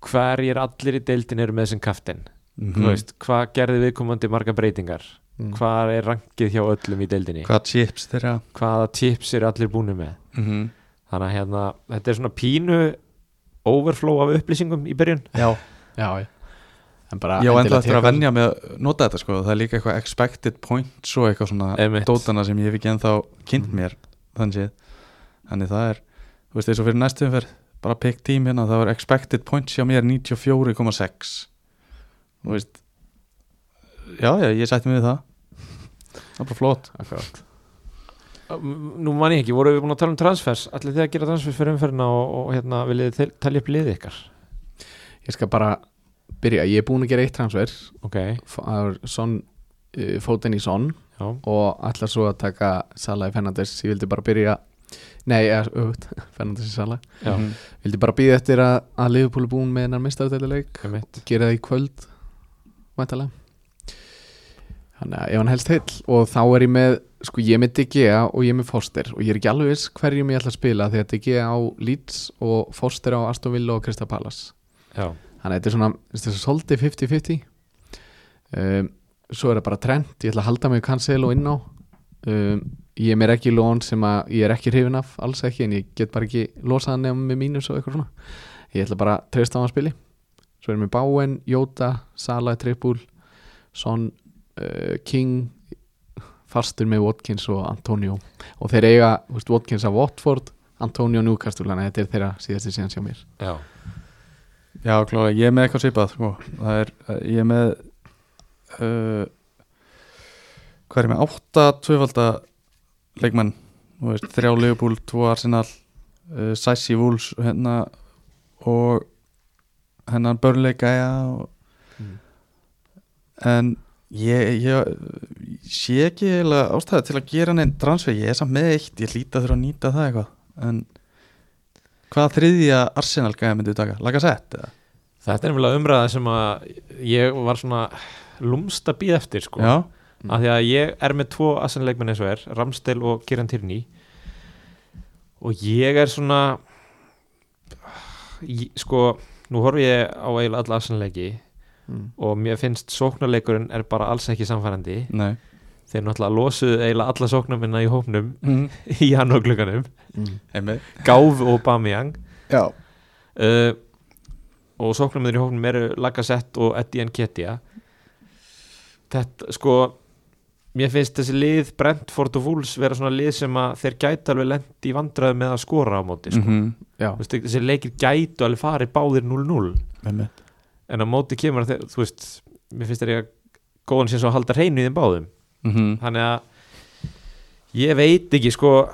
A: hverjir allir í deildin eru með sem kaftin þú veist, hvað gerði viðkomandi marga breytingar
B: Mm.
A: hvað er rangið hjá öllum í deildinni
C: hvað chips þeirra
A: hvaða tips er allir búinu með
C: mm -hmm.
A: þannig að hérna, þetta er svona pínu overflow af upplýsingum í byrjun
C: já,
B: já, já en bara
C: ég á enda
B: endilega
C: eftir að
B: teka-
C: venja með að nota þetta sko, það er líka eitthvað expected points og eitthvað svona
A: Einmitt.
C: dótana sem ég hef ekki ennþá kynnt mér þannig séð, þannig það er þú veist, eins og fyrir næstum fyrir bara pick team hérna, það var expected points hjá mér 94,6 þú veist já, já, ég sætti mig við það það er bara flott
B: Akkurat.
A: nú man ég ekki, voru við búin að tala um transfers allir þið að gera transfers fyrir umferðina og, og hérna, viljið þið talja upp liðið ykkar
B: ég skal bara byrja, ég er búin að gera eitt transfer
A: ok,
B: F- það er son, uh, fótinn í son
A: já,
B: og allar svo að taka Sala í Fernandes, ég vildi bara byrja nei, öfut, Fernandes í Sala
A: já,
C: Mhm.
B: vildi bara býða eftir að, að Liverpool er búin með hennar mistaðutæluleik
A: ekki mitt
B: gera það í kvöld mættalega þannig að ef hann helst heill og þá er ég með, sko ég er með DGA og ég er með Foster og ég er ekki alveg viss hverjum ég ætla að spila því að DGA á Leeds og Foster á Aston Villa og Crystal Palace
A: já,
B: þannig að þetta er svona, þetta er svolítið 50-50 um, svo er það bara trend, ég ætla að halda mig cancel og inná um, ég er mér ekki lón sem að ég er ekki hrifin af, alls ekki en ég get bara ekki losað hann nefnum með mínus og eitthvað svona ég ætla bara að treysta á hann spili svo erum við Báen, Jóta, Sala, Trippul Son, uh, King fastur með Watkins og Antonio og þeir eiga þú veist, Watkins af Watford Antonio Newcastle, þannig að þetta er þeirra síðasti síðan hjá mér
A: já,
C: Já, klálega, ég er með eitthvað svipað sko. það er, ég er með uh, hvað er ég með, átta tvöfalda leikmenn þú veist, þrjá Leopold, tvo Arsenal uh, Sassi Wools hérna, og hennan börnleika ja, og,
A: Mm.
C: en ég, ég sé ekki eiginlega ástæði til að gera neinn transfer, ég er samt með eitt ég hlýta þurfa að nýta það eitthvað en hvað þriðja Arsenal gæja myndið taka, laga sett eða?
A: þetta er nefnilega umræða sem að ég var svona lúmst að býða eftir sko
C: Já,
A: af því að ég er með tvo assenleikmenn eins og er Ramstel og Kiran Tierney og ég er svona ég, sko, nú horf ég á eiginlega alla assenleiki
B: Mm.
A: og mér finnst sóknarleikurinn er bara alls ekki samfærandi
C: nei
A: þeir náttúrulega losuðu eiginlega alla sóknarminna í hópnum í hann og glugganum
C: Einmitt
A: Gáf og Bamiyang
C: Já
A: uh, og sóknarminnir í hópnum eru Lagasett og Eddie Nketia þetta sko mér finnst þessi lið Brentford og Wolves vera svona lið sem að þeir gætu alveg lendi í vandræðu með að skora á móti sko. mm
C: -hmm.
B: Já,
A: veist, þessi leikir gætu alveg farið báðir 0-0
C: Einmitt
A: en á móti kemur að þeir, þú veist mér finnst þeir eiga góðan sér svo að halda hreinu í þeim báðum
C: mm -hmm.
A: þannig að ég veit ekki sko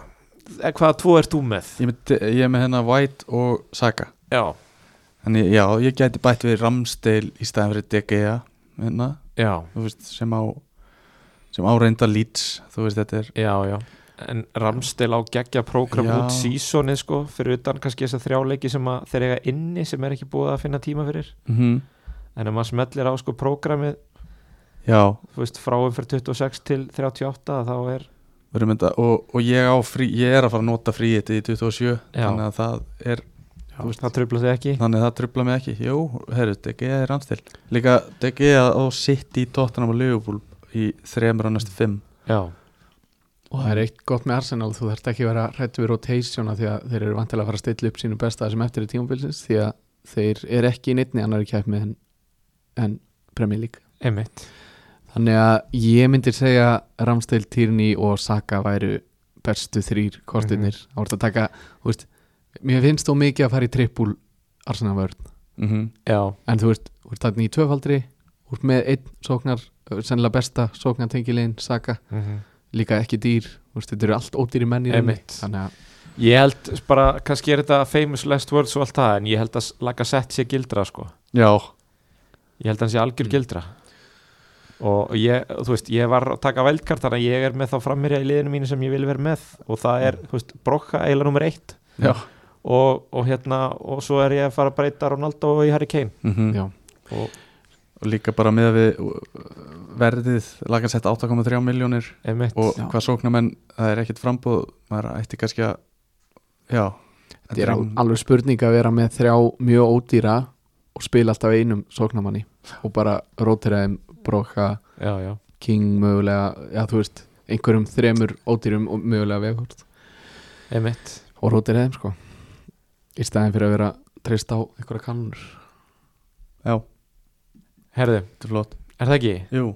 A: eh, hvaða tvo ert þú með
C: Ég er með- ég er með hérna White og Saka
A: já,
C: Þannig já, ég gæti bætt við Ramsdale í staðan fyrir DGA hérna,
A: já,
C: þú veist, sem á sem á reynda Leeds þú veist, þetta er
A: já, já en Ramstil á geggja prógram
C: Já.
A: út sísonið sko fyrir utan kannski þess að þrjáleiki sem að þeir eiga inni sem er ekki búið að finna tíma fyrir
C: mm
A: en ef maður smellir á sko prógramið
C: Já,
A: þú veist fráum fyrir 26 til 38 þá er
C: við erum þetta og, og ég á frí, ég er að fara að nota fríið í 27,
A: Já.
C: þannig að það er
A: þú veist, það tröfla þig ekki
C: þannig að það trubla mig ekki, jú, herru DGA er Ramsdale, líka DGA á sitt í Tottenham og Liverpool í þremur á næstu fimm
A: já,
B: og það er eitt gott með Arsenal þú þarft ekki að vera hrættu við rotationa því að þeir eru vantilega að fara að stilla upp sínum besta sem eftir er tímabilsins því að þeir eru ekki í neittni annari kæfmi en, en Premier League
A: einmitt
B: þannig að ég myndir segja Ramstil, Tierney og Saka væru bestu þrýr kostinir mm -hmm. að taka, þú veist mér finnst þó mikið að fara í trippul Arsenal vörn,
C: mm -hmm.
A: já,
B: en þú veist, þú veist þannig í tvöfaldri, þú veist með einn sóknar, sennilega besta sóknartengilinn Saka
A: Mhm.
B: líka ekki dýr þú veist, þetta eru allt ódýri menn í rauninni.
A: Einmitt.
B: þannig að
A: ég held bara kannski er þetta famous last words og allt það en ég held að laga sett sé gildra sko
C: Já,
A: ég held að hann sé algjör gildra og ég, þú veist, ég var að taka veldkart þannig að ég er með þá frammerja í liðinu mínu sem ég vil vera með og það er, þú veist, brokka eila nummer eitt
C: já
A: og, og hérna, og svo er ég að fara að breyta Ronaldo og í Harry Kane
C: mm
B: já,
A: og
C: Og líka bara með við uh, verðið lagansett 8,3 miljónir
A: emitt,
C: og
B: Já.
C: hvað sóknar menn, það er ekkit frambúð maður ætti kannski að já,
B: þetta er al- alveg spurning að vera með þrjá mjög ódýra og spila alltaf einum sóknamanni og bara rótera þeim Broka,
A: já, já
B: King mögulega, já þú veist einhverjum þremur ódýrum og mögulega vegort
A: emitt,
B: og rótera þeim sko í staðin fyrir að vera treyst á einhverja kannur
C: já,
A: herðu,
C: þetta er flott
A: er það ekki?
C: Jú,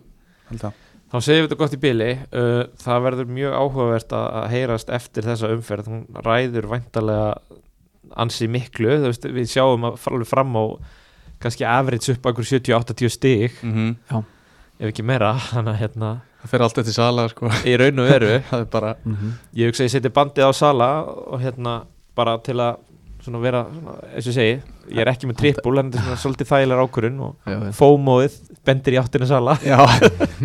C: held að
A: Þá segjum við þetta gott í bili uh, Það verður mjög áhugavert að, að heyrast eftir þessa umferð Hún ræður væntalega ansi miklu Þú veist, Við sjáum að alveg fram á kannski afrits upp okkur 70-80 stig
C: mm
B: Mhm.
A: ef ekki meira þannig að hérna
C: það fer allt eftir sala sko
A: í raun og veru
C: það er bara
B: mm -hmm.
A: ég hugsa að ég seti bandið á sala og hérna bara til að svona vera, svona, eins og ég segi ég er ekki með trippul en þetta er svona svolítið þægilegar ákvörun og
B: já, já.
A: fómóið bendir í áttina sala
C: Já,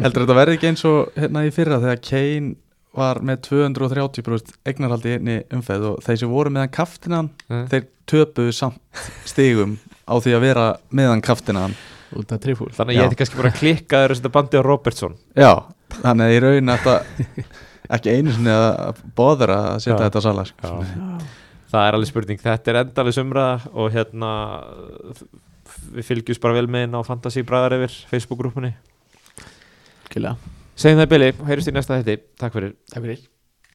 C: heldur þetta verði ekki eins og hérna í fyrra þegar Kane var með 230 brúst eignarhaldi í einni umfæð og þeir sem voru meðan kaftinan
A: Mm.
C: þeir töpuðu samt stigum á því að vera meðan kaftinan
B: út af treyfúl
A: þannig að ég
C: Já.
A: hefði kannski bara klikkaður að setja bandið á Robertson
C: Já, þannig að í raun þetta ekki einu sinni að bóðra að setja
A: Já.
C: þetta sala sko.
A: það er alveg spurning, þetta er endalis umræða og hérna f- f- við fylgjumst bara vel með inn á Fantasí Bræðar yfir Facebook-grúpunni
B: Kjöla.
A: segjum það Billy, heyrjumst í næsta hætti, takk fyrir
B: Takk fyrir